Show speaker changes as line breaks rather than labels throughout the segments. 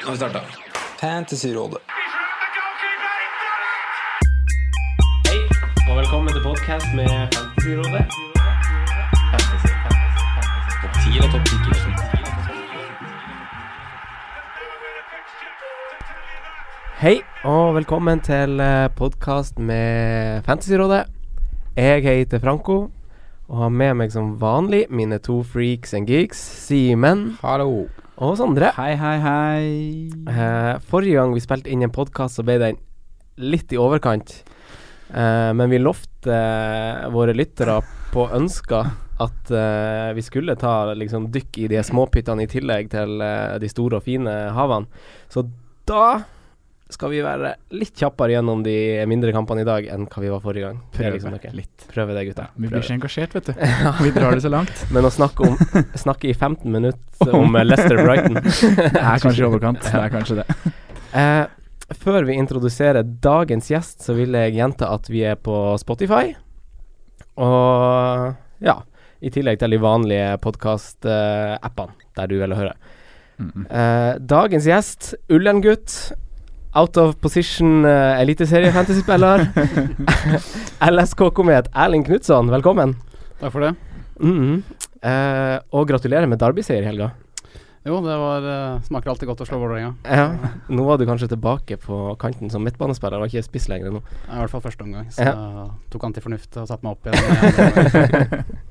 Nå har vi starta.
Fantasyrådet.
Hei, og velkommen til podcast med Fantasyrådet. Topp 10 eller topp 10? Hei, og velkommen til eh, podcast med Fantasyrådet. Jeg heter Franco, og har med meg som vanlig mine to freaks and geeks, Simen
Hallo.
og Sondre.
Hei, hei, hei.
Eh, forrige gang vi spilte inn en podkast, så ble den litt i overkant. Eh, men vi lovte eh, våre lyttere på ønsker at eh, vi skulle ta liksom dykk i de småpyttene i tillegg til eh, de store og fine havene. Så da skal vi være litt kjappere gjennom de mindre kampene i dag enn hva vi var forrige gang. Det er liksom
Prøve
ok.
litt.
Prøve det, gutta.
Vi blir
Prøve.
ikke engasjert, vet du. Vi drar det så langt.
Men å snakke, om, snakke i 15 minutter om eh, Leicester Brighton
Det er kanskje i overkant. Det er kanskje det.
Eh, før vi introduserer dagens gjest, så vil jeg gjenta at vi er på Spotify. Og ja, i tillegg til de vanlige podkast-appene der du vil høre. Eh, dagens gjest, Ullengutt. Out of position uh, eliteserie-fantasyspiller. LSK-komet Erling Knutson, velkommen.
Takk for det.
Mhm. Eh, og gratulerer med Derby-seier i helga.
Jo, det var, eh, smaker alltid godt å slå Vålerenga.
Ja, nå var du kanskje tilbake på kanten som midtbanespiller, var ikke spiss lenger nå.
I hvert fall første omgang. Så
Ja.
eh, tok han til fornuft og satte meg opp igjen.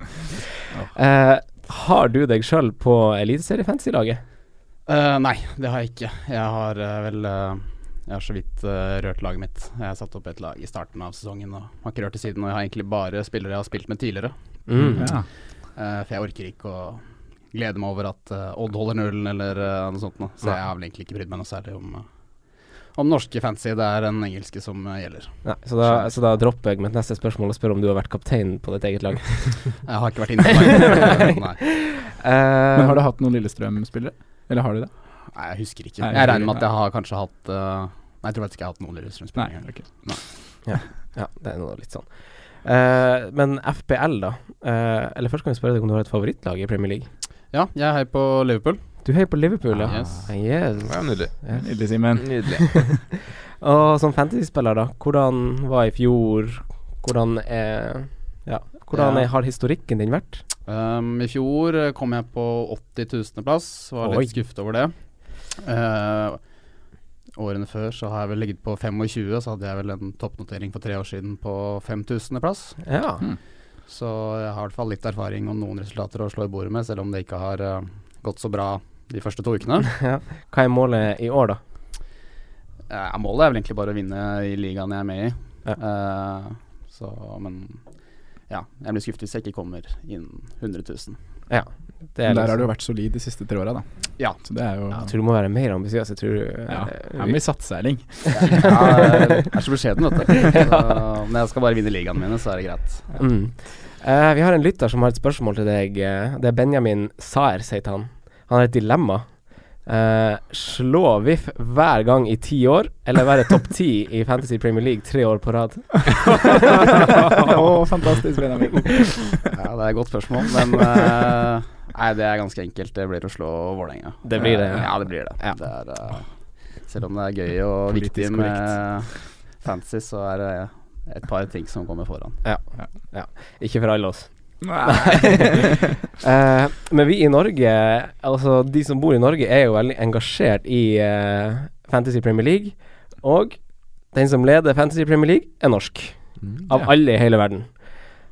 Eh, har du deg sjøl på Eliteseriefantasy-laget?
Eh, nei, det har jeg ikke. Jeg har eh, vel eh, Jeg har så vidt eh, rørt laget mitt. Jeg satte opp et lag i starten av sesongen og har ikke rørt det siden. Og jeg har egentlig bare spillere jeg har spilt med tidligere.
Mm.
Ja.
Eh, for jeg orker ikke å glede meg over at eh, Odd holder nullen eller eh, noe sånt. Nå. Så
Nei.
jeg har vel egentlig ikke brydd meg noe særlig om, eh, om norske fancy. Det er den engelske som eh, gjelder.
Nei, så, da, så da dropper jeg mitt neste spørsmål og spør om du har vært kaptein på ditt eget lag.
Jeg har ikke vært inne på meg. nei.
Eh,
Men har du hatt noen Lillestrøm-spillere? Eller har du det?
Nei, jeg husker ikke.
Nei,
jeg
jeg husker
regner med
ikke.
at jeg har kanskje hatt eh, Nei, jeg tror faktisk ikke jeg har hatt noen
Nei.
Lillestrøm-spillere.
ok.
Ja, det er noe litt sånn. Eh, men FPL, da. Eh, eller først kan jeg spørre deg om du har et favorittlag i Premier League.
Ja, jeg heier på Liverpool.
Du heier på Liverpool, ja.
Yes.
Ah, Yes.
Det var nydelig.
Nydelig, Simen.
Nydelig.
Og som fantasyspiller, da. Hvordan var i fjor? Hvordan er Ja, hvordan
Ja.
er, har historikken din vært?
Um, I fjor eh, kom jeg på 80 000.-plass. Var
Oi.
litt skuffet over det. Eh, årene før så har jeg vel ligget på 25, så hadde jeg vel en toppnotering for tre år siden på 5000.-plass.
Ja.
Så jeg har i hvert fall litt erfaring og noen resultater å slå i bordet med, selv om det ikke har eh, gått så bra de første to ukene.
Hva er målet i år, da?
Eh, målet er vel egentlig bare å vinne i ligaen jeg er med i.
Ja.
Eh, så, men ja, jeg blir skuffet hvis jeg ikke kommer innen 100 000.
Det
Men
liksom-
der har du vært solid de siste tre åra, da.
Ja.
Så det er jo
Jeg tror du må være mer ambisiøs. Jeg tror
Ja.
eh,
Her
vi-
blir satseiling.
Jeg er så beskjeden, vet du. Så, men jeg skal bare vinne ligaene mine, så er det greit.
Mm. Eh, vi har en lytter som har et spørsmål til deg. eh, Det er Benjamin Saer, sier han. Han har et dilemma. Eh, slå VIF hver gang i ti år, eller være topp ti i Fantasy Premier League tre år på rad?
Å, fantastisk, Benjamin.
Ja, det er et godt spørsmål, men eh, nei, det er ganske enkelt. Det blir å slå Vålerenga.
Det blir det,
Eh,
ja.
Ja, det blir det.
Ja.
det er, eh, selv om det er gøy og
Politisk
viktig med fantasy, så er det et par ting som kommer foran.
Ikke for alle oss. Eh, men vi i Norge, altså de som bor i Norge, er jo veldig engasjert i eh, Fantasy Premier League. Og den som leder Fantasy Premier League, er norsk. Av
Ja.
alle i hele verden.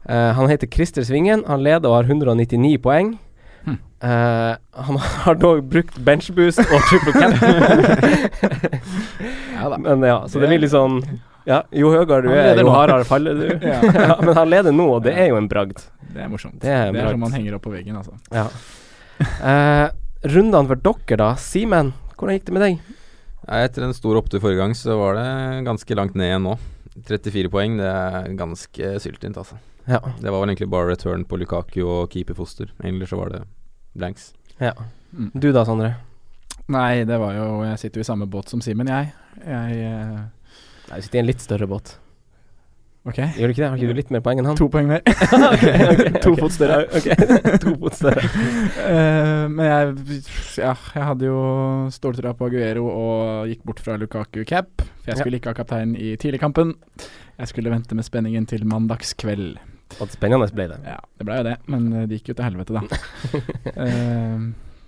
Eh, han heter Christer Svingen. Han leder og har 199 poeng.
Hm.
Eh, han har dog brukt benchboost og triple cap.
Ja da.
men ja, så det blir litt sånn ja, Jo høyere du
Han
er,
leder
jo
nå.
hardere faller du.
Ja.
ja, men han leder nå, og det er jo en bragd.
Det er morsomt.
Det er bra.
som man henger opp på veggen, altså.
Ja. Eh, rundene for dere, da. Simen, hvordan gikk det med deg?
Nei, Etter en stor opptur forrige gang, så var det ganske langt ned igjen nå. 34 poeng, det er ganske syltynt, altså.
Ja.
Det var vel egentlig bare return på Lukaku og keeperfoster. Egentlig så var det blanks.
Mm.
Du da, Sondre?
Nei, det var jo Jeg sitter jo i samme båt som Simen, jeg. Jeg eh,
Nei, Du sitter i en litt større båt.
Ok.
Gjør du ikke det? Har ikke du litt mer poeng enn han?
To poeng mer.
To
ok.
fot større. Ok, to fot større.
Eh, men jeg Ja, jeg hadde jo ståltroa på Aguero og gikk bort fra Lukaku cap. For jeg
Ja.
skulle ikke ha kapteinen i tidligkampen. Jeg skulle vente med spenningen til mandagskveld.
Og spennende ble det.
Ja, det ble jo det, men eh, det gikk jo til helvete, da. Eh,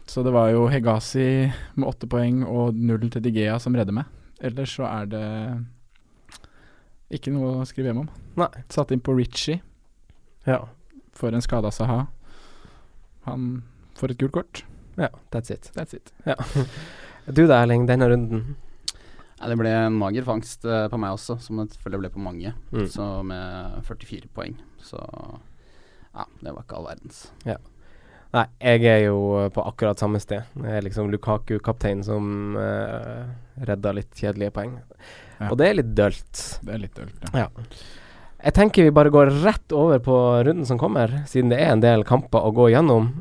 så det var jo Hegasi med åtte poeng og nullen til Digea som redder meg. Ellers så er det ikke noe å skrive hjem om.
Nei.
Satt inn på Ritchie
Ja.
for en skada Saha. Han får et gult kort.
ja. That's it.
That's it.
Du da, Erling. Denne runden.
Nei, det ble en mager fangst eh, på meg også, som jeg føler ble på mange.
Mm.
Så med 44 poeng. Så ja, det var ikke all verdens.
Nei, jeg er jo eh, på akkurat samme sted. Jeg er liksom Lukaku-kaptein som uh, redda litt kjedelige poeng.
Ja.
Og det er litt dølt.
Det er litt dølt, ja.
Jeg tenker vi bare går rett over på runden som kommer, siden det er en del kamper å gå gjennom.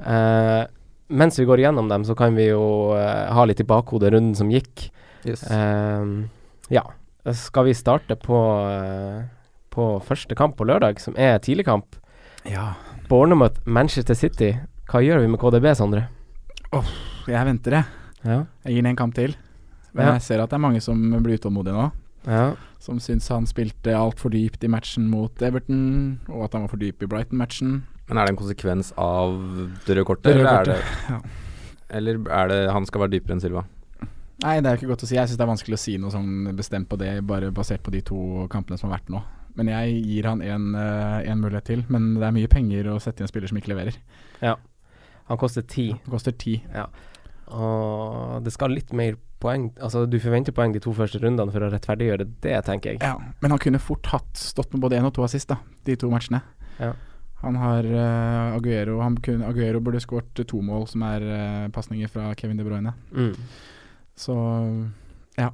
Eh, mens vi går gjennom dem, så kan vi jo eh, ha litt i bakhodet runden som gikk.
Yes.
Ehm, ja. Skal vi starte på, eh, på første kamp på lørdag, som er tidligkamp?
Ja.
Bournemouth, Manchester City. Hva gjør vi med KDB, Sondre?
Jeg venter, jeg.
Ja.
Jeg gir den en kamp til. Men
Ja.
jeg ser at det er mange som blir utålmodige nå.
ja.
Som syns han spilte altfor dypt i matchen mot Everton, og at han var for dyp i Brighton-matchen.
Men er det en konsekvens av det røde kortet,
Det røde
eller,
kortet,
Er det, eller er det han skal være dypere enn Silva?
Nei, det er jo ikke godt å si. Jeg syns det er vanskelig å si noe sånn bestemt på det, bare basert på de to kampene som har vært nå. Men jeg gir han en, eh, en mulighet til. Men det er mye penger å sette i en spiller som ikke leverer.
Han koster ti,
Det koster ti.
og det skal litt mer poeng Altså, du forventer poeng de to første rundene for å rettferdiggjøre det, tenker jeg.
Ja, men han kunne fort hatt stått med både én og to assist, da, de to matchene.
Ja.
Han har eh, Aguero han kunne, Aguero burde skåret to mål, som er uh, pasninger fra Kevin De Bruyne.
Mm.
Så ja.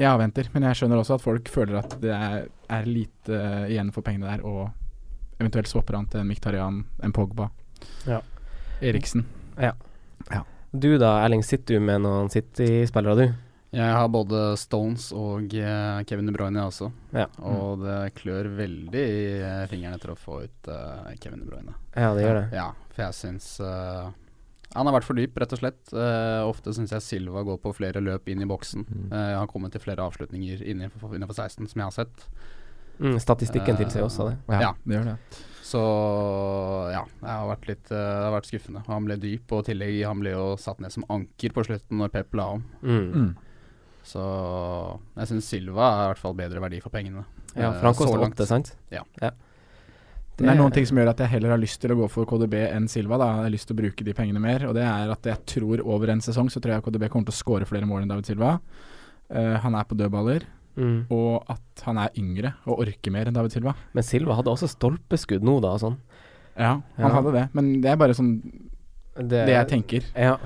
Jeg avventer, men jeg skjønner også at folk føler at det er, er lite eh, igjen for pengene der, og eventuelt swapper han til en Miktarian, en Pogba,
Ja.
Eriksen.
Du da, Erling, sitter du med noen City-spillere, du?
Jeg har både Stones og eh, Kevin De Bruyne, jeg også.
Ja.
Og det klør veldig i eh, fingeren etter å få ut eh, Kevin De Bruyne.
Ja, det gjør det.
Ja, for jeg syns eh, han har vært for dyp, rett og slett. Eh, ofte syns jeg Silva går på flere løp inn i boksen.
Mm.
Eh, han har kommet til flere avslutninger innenfor, innenfor 16, som jeg har sett.
Mm, statistikken
Eh,
tilsier også det.
Ja.
det gjør det.
Så ja, det har vært litt eh, det har vært skuffende. Han ble dyp, og i tillegg han ble jo satt ned som anker på slutten når Pep la om.
Mm.
Mm.
Så jeg syns Silva er i hvert fall bedre verdi for pengene.
Ja,
Eh,
for han
så
koster
langt.
åtte, sant?
Ja.
Det er noen ting som gjør at jeg heller har lyst til å gå for KDB enn Silva. Da. Jeg har lyst til å bruke de pengene mer, og det er at jeg tror over en sesong så tror jeg KDB kommer til å skåre flere mål enn David Silva. Eh, han er på dødballer,
mm.
og at han er yngre og orker mer enn David Silva.
Men Silva hadde også stolpeskudd nå, da, og sånn.
Ja, han
Ja.
hadde det, men det er bare sånn det jeg tenker.
Ja.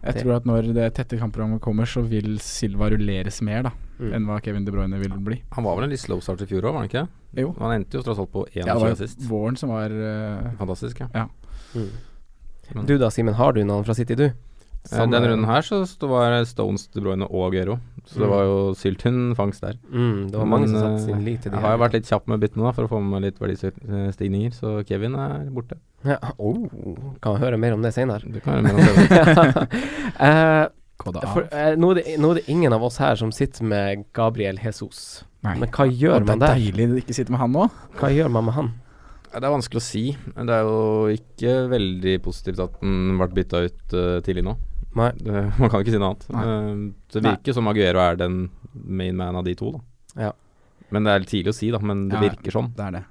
Jeg
Det-
tror at når det tette kampprogrammet kommer, så vil Silva rulleres mer da
Mm.
enn hva Kevin De Bruyne vil bli.
Han var vel en litt slow start i fjor òg, var han ikke?
Jo.
Han endte jo tross alt på 21
Ja, det var
assist.
våren som var eh,
Fantastisk, ja.
Mm. Du da, Simen. Har du noen fra City, du?
Eh,
samme-
Denne runden her så st- var det Stones, De Bruyne og Aguero. Så det
Mm.
var jo syltynn fangst der.
Mm, det var mange
Men,
som satte
eh,
sin lit til de
Jeg har jo vært litt kjapp med byttene da, for å få med litt verdistigninger, så Kevin er borte.
ja. oh, Kan vi høre mer om det senere?
Det kan være mellom dere.
Eh,
Koda
for,
av.
eh, nå, er det, nå er det ingen av oss her som sitter med Gabriel Jesus.
Nei.
Men hva gjør
Og det
man
er
der?
deilig å ikke sitte med han nå.
Hva gjør man med han?
Ja, Det er vanskelig å si. Det er jo ikke veldig positivt at den ble bytta ut eh, tidlig nå.
Nei.
Det, man kan ikke si noe annet. Eh, det
Nei.
virker som Aguero er den main man av de to, da.
Ja.
Men det er tidlig å si, da. Men det
Ja.
virker sånn.
Det er det.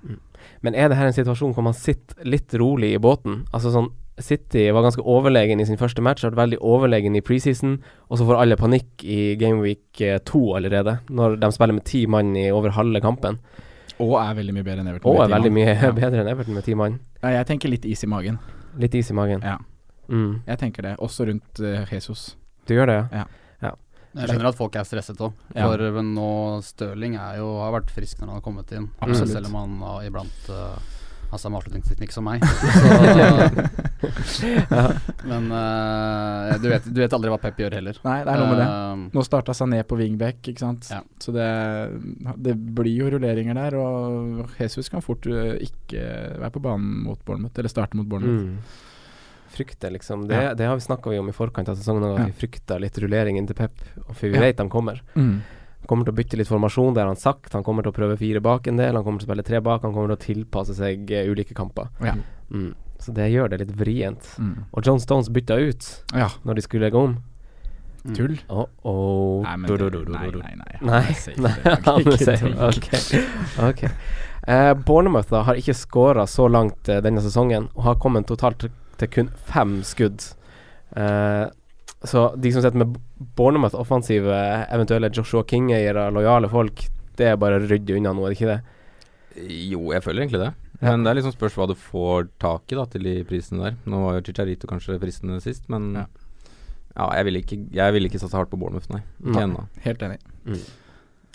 Men er det her en situasjon hvor man sitter litt rolig i båten? Altså sånn City var ganske overlegen i sin første match, har vært veldig overlegen i preseason, og så får alle panikk i game week eh, to allerede, når de spiller med ti mann i over halve kampen.
Og er veldig mye bedre enn Everton.
Og
vet
er
jeg,
veldig
han.
mye
Ja.
bedre enn Everton med ti mann.
Ja, jeg tenker litt is i magen.
Litt is i magen.
Ja.
Mm.
Jeg tenker det. Også rundt eh, Jesus.
Du gjør det, ja?
Jeg skjønner at folk er stresset òg,
Ja.
for eh, nå Stirling er jo, har vært frisk når han har kommet inn.
Absolutt.
Selv om han har iblant eh, har samme avslutningsteknikk som meg. Så, men eh, du, vet, du vet aldri hva Pep gjør heller.
Nei, det er noe med det.
Eh,
Nå starta Sané på wingback, ikke sant.
Ja.
Så det, det blir jo rulleringer der. Og Jesus kan fort eh, ikke være på banen mot Bournemouth, eller starte mot Bournemouth.
Mm. Frykter liksom Det, det har vi snakka om i forkant av sesongen, at
Ja.
vi frykter litt rulleringen til Pep, for vi
Ja.
vet de kommer.
Mm.
Han kommer til å bytte litt formasjon, det har han sagt. Han kommer til å prøve fire bak en del, han kommer til å spille tre bak, han kommer til å tilpasse seg eh, ulike kamper.
Ja.
Mm. Så det gjør det litt vrient.
Mm.
Og John Stones bytta ut
Ja,
når de skulle legge om.
Mm.
tull.
Oh, oh.
Nei, men
Du,
det,
du, du, du,
nei,
du, du.
nei, nei. han
Nei,
er safe,
nei,
det kan
han
ikke
er safe.
tenke.
Ok. ok Eh, Bournemouth da, har ikke skåra så langt eh, denne sesongen, og har kommet totalt til- til kun fem skudd. Eh, så de som sitter med Bournemouth offensive, eventuelle Joshua King-eiere, lojale folk, det er bare å rydde unna nå, er det ikke det?
Jo, jeg føler egentlig det. Men det er liksom spørs hva du får tak i da til de prisene der. Nå var jo Chicharito kanskje fristende sist, men
Ja.
ja. jeg ville ikke, jeg ville ikke satsa hardt på Bournemouth, nei. Ikke
Nei.
ennå.
Helt enig.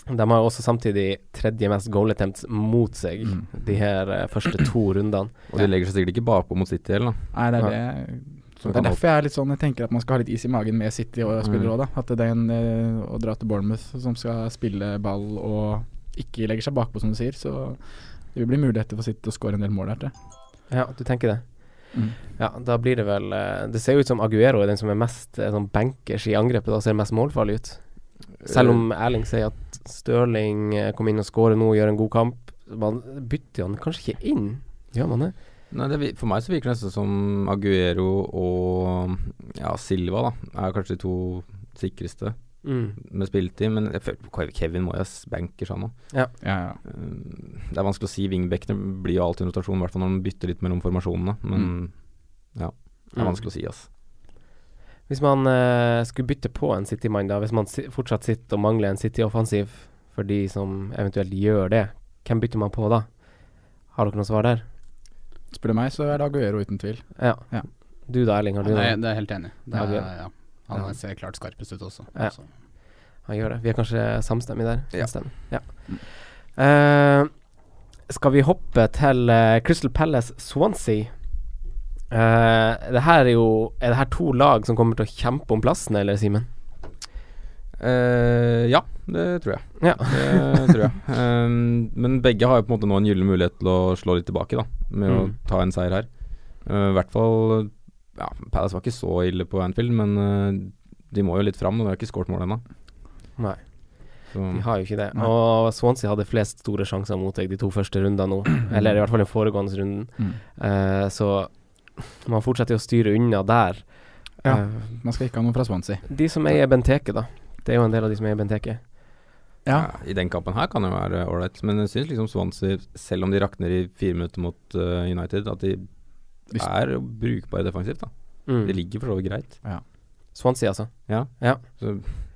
De har jo også samtidig tredje mest goal attempts mot seg,
Mm.
de her eh, første to rundene.
Og de legger seg sikkert ikke bakpå mot City heller, da.
Nei, det er
Nei.
det.
Som
Det
kan
er derfor jeg er litt sånn Jeg tenker at man skal ha litt is i magen med City og spillere òg, da. At det er en eh, å dra til Bournemouth som skal spille ball og ikke legger seg bakpå, som du sier. Så det vil bli muligheter for City til å skåre en del mål der, tror jeg.
Ja, du tenker det?
Mm.
Ja, da blir det vel eh, Det ser jo ut som Aguero er den som er mest eh, sånn bankers i angrepet. Da ser det mest målfarlig ut. Selv om
Eh.
Erling sier at Stirling eh, kom inn og skårer nå og gjør en god kamp. Man bytter han kanskje ikke inn, gjør man det?
Nei, det, vi- for meg så virker det nesten som Aguero og ja, Silva da er kanskje de to sikreste
Mm.
med spilletid. Men jeg føler Kevin Moyes banker seg nå.
Ja, ja.
Um, Det er vanskelig å si. Wingbackene blir jo alltid en rotasjon, i hvert fall når de bytter litt mellom formasjonene. Men ja, det er
Mm.
vanskelig å si, ass.
Hvis man eh, skulle bytte på en City-mann, da, hvis man si fortsatt sitter og mangler en City-offensiv for de som eventuelt gjør det, hvem bytter man på da? Har dere noe svar der?
Spør du meg, så er det Aguero uten tvil.
Ja.
Ja.
Du da, Erling, har du
det,
noe?
er- det er jeg helt enig. i. Det er,
Ja,
ja. Han
Ja.
ser klart skarpest ut også.
Ja.
så.
Han gjør det. Vi er kanskje samstemmige der.
Ja.
Samstemmige. ja. Eh, skal vi hoppe til eh, Crystal Palace Swansea? Eh, det her er jo Er det her to lag som kommer til å kjempe om plassen, eller, Simen?
Eh, ja, det tror jeg.
Ja.
Det tror jeg. Um, men begge har jo på en måte nå en gyllen mulighet til å slå litt tilbake, da. Med å
Mm.
ta en seier her. Eh, I hvert fall Ja, Palace var ikke så ille på Anfield, men eh, de må jo litt fram. og De har ikke skåret mål ennå.
Nei.
Så
De har jo ikke det.
Nei.
Og Swansea hadde flest store sjanser mot deg de to første rundene nå. Eller i hvert fall den foregående runden. Eh, så man fortsetter jo å styre unna der.
Ja.
Eh,
Man skal ikke ha noen fra Swansea.
de som eier Benteke, da. Det er jo en del av de som eier Benteke.
Ja.
ja, I den kampen her kan det jo være ålreit, men jeg syns liksom Swansea, selv om de rakner i fire minutter mot eh, United, at de
Hvis-
er brukbare defensivt. da
Mm.
Det ligger for så vidt greit.
Swansea, altså.
Så jeg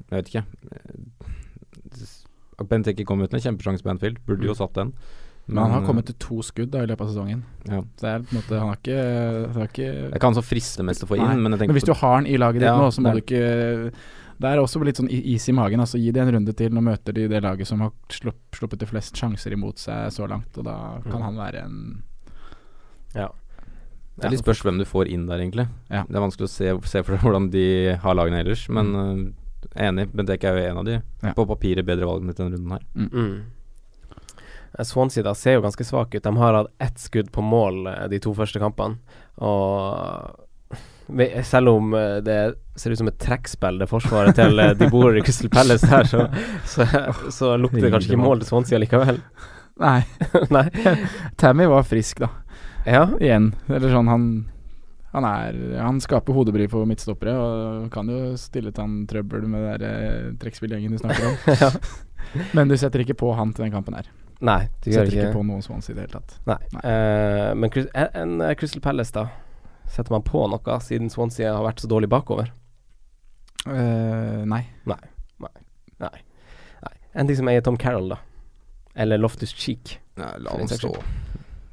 vet ikke. Eh, Benteke kom ut med en kjempesjanse på Anfield, burde jo satt den.
Mm. Men han har
eh,
kommet til to skudd da, i løpet av sesongen.
Ja.
Så det er på en måte Han har ikke, han har
Det er
ikke
ikke han som frister altså mest å få inn,
Nei,
men jeg
Men
tenker
hvis du har han i laget ditt
Ja,
nå, så må
det
du ikke Det er også litt sånn i- is i magen. Altså Gi det en runde til. Nå møter de det laget som har slupp- sluppet de flest sjanser imot seg så langt, og da kan
Mm.
han være en
Det er litt spørs hvem du får inn der, egentlig.
Ja.
Det er vanskelig å se, se for deg hvordan de har lagene ellers, men eh, enig. Benteke er jo en av de.
Ja.
På papiret bedre valg enn denne runden her.
Mm. Eh, Swansea da ser jo ganske svak ut. De har hatt ett skudd på mål eh, de to første kampene. Og vi- selv om eh, det ser ut som et trekkspill, det forsvaret til eh, de bor i Crystal Palace her, så, så, så lukter det kanskje ikke mål til Swansea likevel.
Nei,
Nei.
Tammy var frisk, da.
Ja.
Igjen. Eller sånn, han han, er, han skaper hodebry for midtstoppere og kan jo stille til han trøbbel med den der, eh, trekkspillgjengen du snakker om.
ja.
Men du setter ikke på han til den kampen her.
Nei, du gjør
Setter
ikke
ikke
det.
på noen Swansea i det hele tatt.
Nei. Eh, men Crys- en, en eh, Crystal Palace, da. Setter man på noe, siden Swansea har vært så dårlig bakover?
Eh, nei.
Enn de som eier Tom Carroll, da. Eller Loftus Cheek.
Nei, la
For den
han
saks
stå.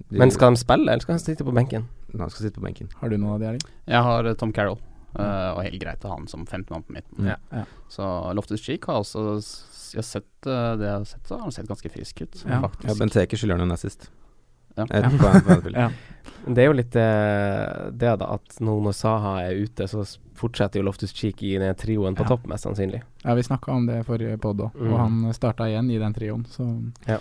De-
Men skal de spille, eller skal de sitte på benken?
Nei, han skal sitte på benken.
Har du noen av de, Erling?
Jeg har eh, Tom Carroll, eh, og helt greit å ha han som 15 mann på midten.
Mm. Ja. Ja.
Så Loftus Cheek har også s- jeg har sett eh, det jeg har sett, så har han sett ganske frisk ut,
Ja.
faktisk.
Ja, Benteke skylder han en assist.
Ja.
Ett poeng på Anfield.
Ja.
Men Det er jo litt eh, det, da, at nå når Saha er ute, så s- fortsetter jo Loftus Cheek i den trioen på
Ja.
topp, mest sannsynlig.
Ja, vi snakka om det forrige podd òg,
Mm.
og han starta igjen i den trioen, så
Ja,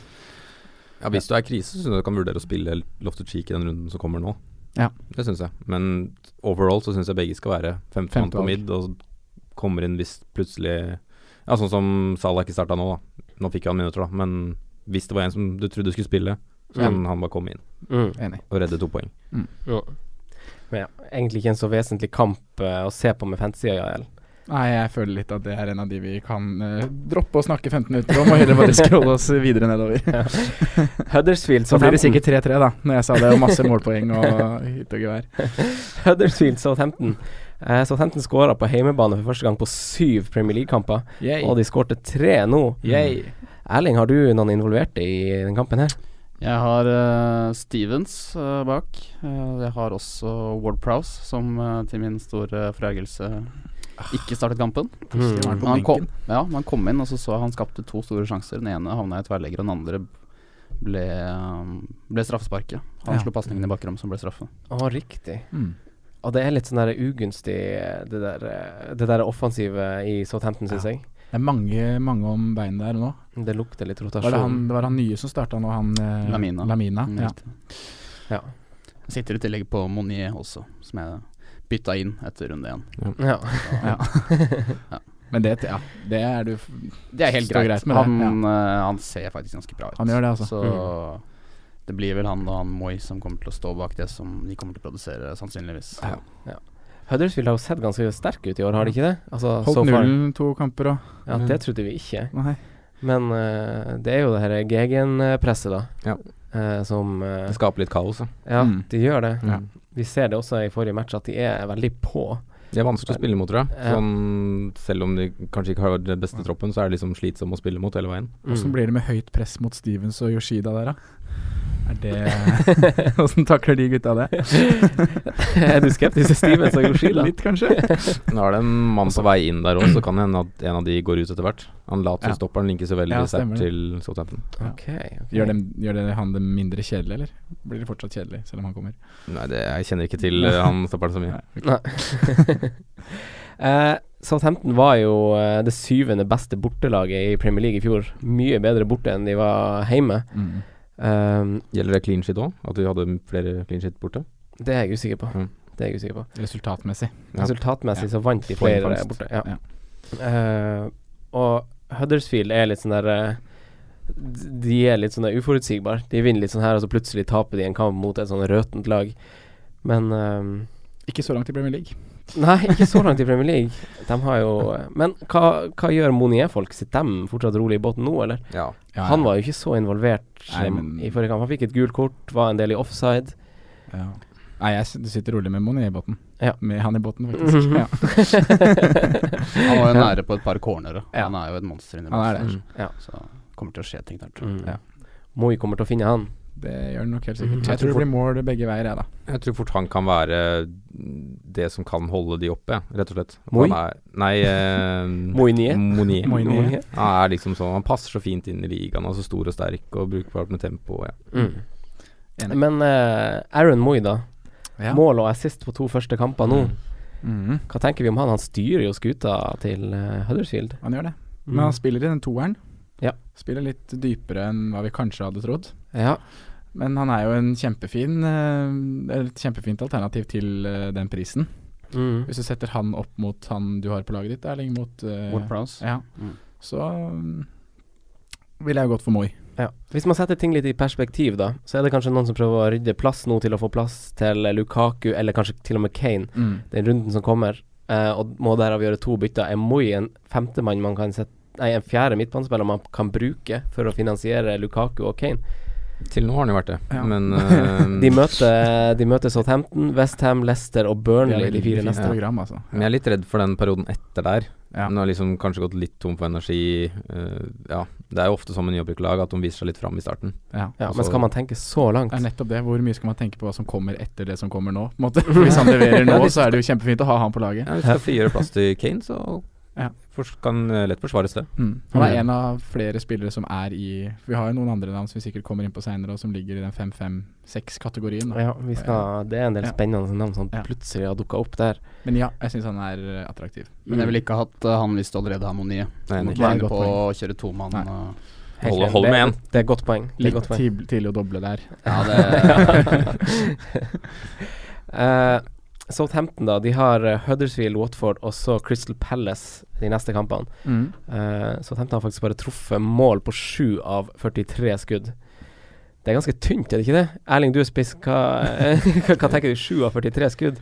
hvis du er i krise, så syns jeg du kan vurdere å spille Lofted Cheek i den runden som kommer nå.
Ja.
Det syns jeg. Men overall så syns jeg begge skal være femte mann
Femte
på
valg.
midd, og kommer inn hvis plutselig Ja, sånn som Salah ikke starta nå, da. Nå fikk jo han minutter, da, men hvis det var en som du trodde skulle spille, så kan han bare komme inn
Mm.
enig.
og redde to poeng.
Men ja, egentlig ikke en så vesentlig kamp eh, å se på med fantasy-øya. eller?
Nei, jeg føler litt at det er en av de vi kan eh, droppe å snakke 15 minutter om, og heller bare scrolle oss videre nedover.
Huddersfield
Så blir det
Southampton.
sikkert 3-3, da, når jeg sa det, og masse målpoeng og hytte og gevær.
Huddersfield Southampton. Eh, Southampton skåra på heimebane for første gang på syv Premier League-kamper, og de skårte tre nå.
Yay.
Erling, har du noen involverte i den kampen her?
Jeg har eh, Stevens eh, bak. Eh, jeg har også Ward Prowse, som eh, til min store forargelse ikke startet kampen.
Mm.
var Ah. på
Men han, kom,
benken.
ja, men han kom inn, og så så jeg han skapte to store sjanser. Den ene havna i tverrlegger, og den andre ble, eh, ble straffesparket. Han
Ja.
slo pasningen i bakrommet, som ble straffe.
Å, riktig.
Mm.
Og det er litt sånn der ugunstig, eh, det der, eh, det der offensive i Southampton, syns jeg.
Det er mange, mange om beinet der nå.
Det lukter litt rotasjon.
Var det han, det var han nye som starta nå, han eh,
Lamina. Mm,
ja.
riktig.
Ja.
Jeg Sitter i tillegg på Monier også, som jeg bytta inn etter runde én.
Ja.
Men det, ja, det er du f-
Det er helt
Står
greit.
greit med det,
han, eh, han ser faktisk ganske bra ut.
Han gjør det, altså.
Så det blir vel han og han Moi som kommer til å stå bak det som de kommer til å produsere, sannsynligvis.
Ja.
Huddersfield har jo sett ganske sterke ut i år, har de ikke det? Altså,
Holdt
so far.
nullen to kamper og
Ja, det trodde vi ikke.
Nei.
Men eh, det er jo det her Gegen-presset, da.
Ja.
eh, som eh,
Det skaper litt kaos. Ja.
Ja,
Mm.
de gjør det.
Ja.
Vi ser det også i forrige match, at de er veldig på.
De er vanskelig å spille mot, tror jeg.
Ja.
Sånn, selv om de kanskje ikke har den beste troppen, så er det liksom slitsomme å spille mot hele veien.
Åssen
Mm.
blir det med høyt press mot Stevens og Yoshida der, da? Er det Åssen takler de gutta det?
er du skeptisk til Stevens og Yoshida?
Litt, kanskje.
Nå er det en mann
Altså-
på vei inn der òg, så kan det hende at en av de går ut etter hvert. Han later
Ja.
som stopperen linkes jo veldig
Ja,
sterkt
stemmer det.
til Southampton.
Ok, ok.
Gjør det, gjør det han det mindre kjedelig, eller? Blir det fortsatt kjedelig, selv om han kommer?
Nei, det, jeg kjenner ikke til eh, han stopperen så mye.
Nei. Eh, Southampton var jo eh, det syvende beste bortelaget i Premier League i fjor. Mye bedre borte enn de var hjemme.
Mm.
Um,
Gjelder det clean shit òg? At du hadde flere clean shit borte?
det er jeg usikker på.
Mm.
Det er jeg usikker på.
Resultatmessig.
Ja.
Resultatmessig så vant de flere
Poengfangst.
borte. Ja. Eh, og Huddersfield er litt sånn der eh, d- De er litt sånn der uforutsigbare. De vinner litt sånn her, og så plutselig taper de en kamp mot et sånn røtent lag. Men ehm,
Ikke så langt i Premier League.
Nei, ikke så langt i Premier League. De har jo eh, Men hva, hva gjør Monier-folk? Sitter de fortsatt rolig i båten nå, eller?
Ja.
Ja,
Han var jo ikke så involvert
Nei,
eh,
men-
i forrige kamp. Han fikk et gult kort, var en del i offside.
ja. Nei, jeg s- du sitter rolig med Moni i båten.
Ja.
Med han i båten, faktisk.
Mhm.
Ja.
Han var jo nære på et par cornere.
Ja.
Han er jo et monster inni
Han er
boksen,
det.
Så det kommer til å skje ting der, tror jeg.
Mm.
Ja.
Moi kommer til å finne han.
Det gjør han nok helt
Mhm.
sikkert.
Jeg
Jeg tror
tror
det blir mål begge veier, jeg, da.
Jeg tror fort han kan være det som kan holde de oppe, jeg, rett og slett. At
Moi?
han Er, nei eh,
Moinier.
Monier.
Moinier.
Han er liksom sånn Han passer så fint inn i ligaen. Altså stor og sterk og brukbart med tempo. Ja.
Mm.
Enig.
Men eh, Aaron Moi, da.
Ja.
Mål og assist på to første kamper nå.
Mhm.
Hva tenker vi om han? Han styrer jo skuta til eh, Huddersfield.
Han gjør det. Men han spiller i den toeren.
Mhm. Ja.
Spiller litt dypere enn hva vi kanskje hadde trodd.
Mm. Ja.
Men han er jo en kjempefin eh, eller et kjempefint alternativ til eh, den prisen.
Mm.
Hvis du setter han opp mot han du har på laget ditt, Erling, mot eh,
Ward Prowse.
Ja.
Mm.
Så um, ville jeg gått for Moi.
ja. Hvis man setter ting litt i perspektiv, da, så er det kanskje noen som prøver å rydde plass nå til å få plass til Lukaku, eller kanskje til og med Kane, den runden som kommer, eh, og må derav gjøre to bytter. Er Moi en femtemann man kan sette Nei, en fjerde midtbanespiller man kan bruke for å finansiere Lukaku og Kane.
Til nå har han jo vært det,
Ja.
men
Mm.
eh,
De møter, de møter Southampton, Westham, Leicester og Burnley, de fire neste.
program, altså.
Men jeg er litt redd for den perioden etter der.
Ja.
Nå har jeg liksom kanskje gått litt tom for energi. eh, ja, Det er jo ofte sånn med nyopprykket lag at de viser seg litt fram i starten.
Ja.
Ja,
Og
men
så-
skal man tenke så langt?
Det er nettopp det. Hvor mye skal man tenke på hva som kommer etter det som kommer nå? På en måte. Hvis han leverer nå, så er det jo kjempefint å ha han på laget.
Ja, Hvis du skal frigjøre plass til Kane, så
Ja.
Fors- kan eh, lett forsvares, det.
Mm. Han er
Mm.
en av flere spillere som er i Vi har jo noen andre navn som vi sikkert kommer inn på seinere, og som ligger i den 5-5-6-kategorien. da.
Ja, vi skal, det er en del
Ja.
spennende navn som
Ja.
plutselig har dukka opp der.
Men ja, jeg syns han er eh, attraktiv.
Men
Mm.
jeg ville ikke hatt eh, han hvis du allerede har Monier.
Nei,
Du
enig.
må
Ok.
ikke
Nei,
ende
godt
på å kjøre to mann. eh,
Nei.
og-
Helt
Hold-
enig.
hold
Det-
med en.
Det er et godt poeng. Det er et
Litt
godt poeng.
tidlig, tidlig å doble der.
Ja, det
Eh, Southampton, da. De har eh, Huddersfield, Watford og så Crystal Palace de neste kampene. Eh, Southampton har faktisk bare truffet mål på 7 av 43 skudd. Det er ganske tynt, er det ikke det? Erling, du er spiss. Hva, hva, hva tenker du? 7 av 43 skudd?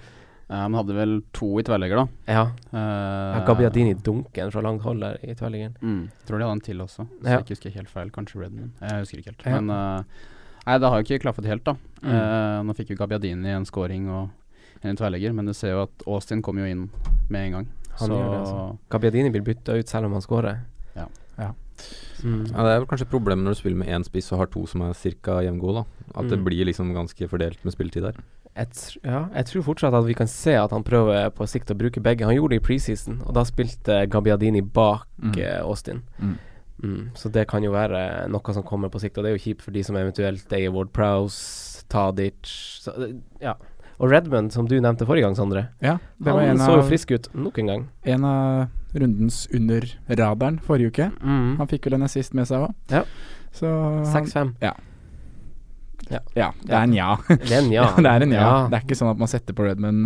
Ja, Men hadde vel to i tverrlegger, da.
Ja.
Eh,
Gabiadini dunker den fra langt hold der i tverrliggeren.
Mm, tror de hadde en til også, hvis
Ja.
jeg ikke husker helt feil. Kanskje Redman. Jeg husker ikke helt.
Ja.
Men eh, nei, det har jo ikke klaffet helt, da.
Mm.
Eh, nå fikk jo Gabiadini en scoring og en tverrlegger, men du ser jo at Austin kom jo inn med en gang.
Han gjør det, altså. Gabiadini blir bytta ut selv om han skårer.
Ja.
Ja.
Mm.
Ja, det er vel kanskje et problem når du spiller med én spiss og har to som er ca. jevngode. da. At det
Mm.
blir liksom ganske fordelt med spilletid der.
Jeg, tr ja, jeg tror fortsatt at vi kan se at han prøver på sikt å bruke begge. Han gjorde det i preseason, og da spilte Gabiadini bak
Mm.
eh, Austin.
Mm.
Mm, så det kan jo være noe som kommer på sikt, og det er jo kjipt for de som eventuelt eier Ward Prowse, Tadic så, det- Ja. Og Redmond, som du nevnte forrige gang, Sondre.
Ja, det var en
Han så jo
av,
frisk ut nok en gang.
en av rundens under radaren forrige uke. Han fikk vel en assist med seg òg.
Mm. Ja.
Så Mm. han,
6-5.
ja, det er en ja.
Det er en ja.
det er en ja. Det er ikke sånn at man setter på Redman.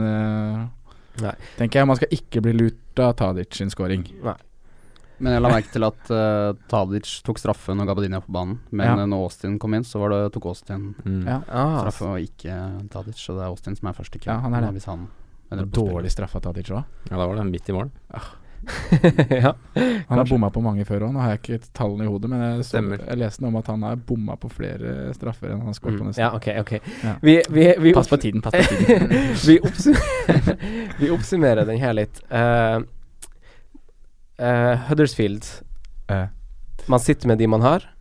Nei.
tenker jeg. Man skal ikke bli lurt av Tadic sin scoring.
Men jeg la merke til at eh, Tadic tok straffe når Gabiadini var på banen, men
Ja.
eh, når Austin kom inn, så var det, tok Austin
Mm.
Ja. altså.
Ah,
straffe og ikke Tadic, så det er Austin som er først i køen.
Ja, han er det.
Hvis han
Det er
ender på spill.
dårlig straffa Tadic òg.
Ja, da var det midt i mål.
ja.
Han har
Kanskje.
bomma på mange før òg. Nå har jeg ikke tallene i hodet, men jeg, så,
Stemmer.
jeg leste noe om at han har bomma på flere straffer enn han har skåret på
Mm.
nesten.
ja, OK. ok
Ja.
Vi, vi, vi
Pass på tiden, pass på tiden.
vi, oppsum- vi oppsummerer den her litt. Eh, eh, Huddersfield.
Eh.
Man sitter med de man har,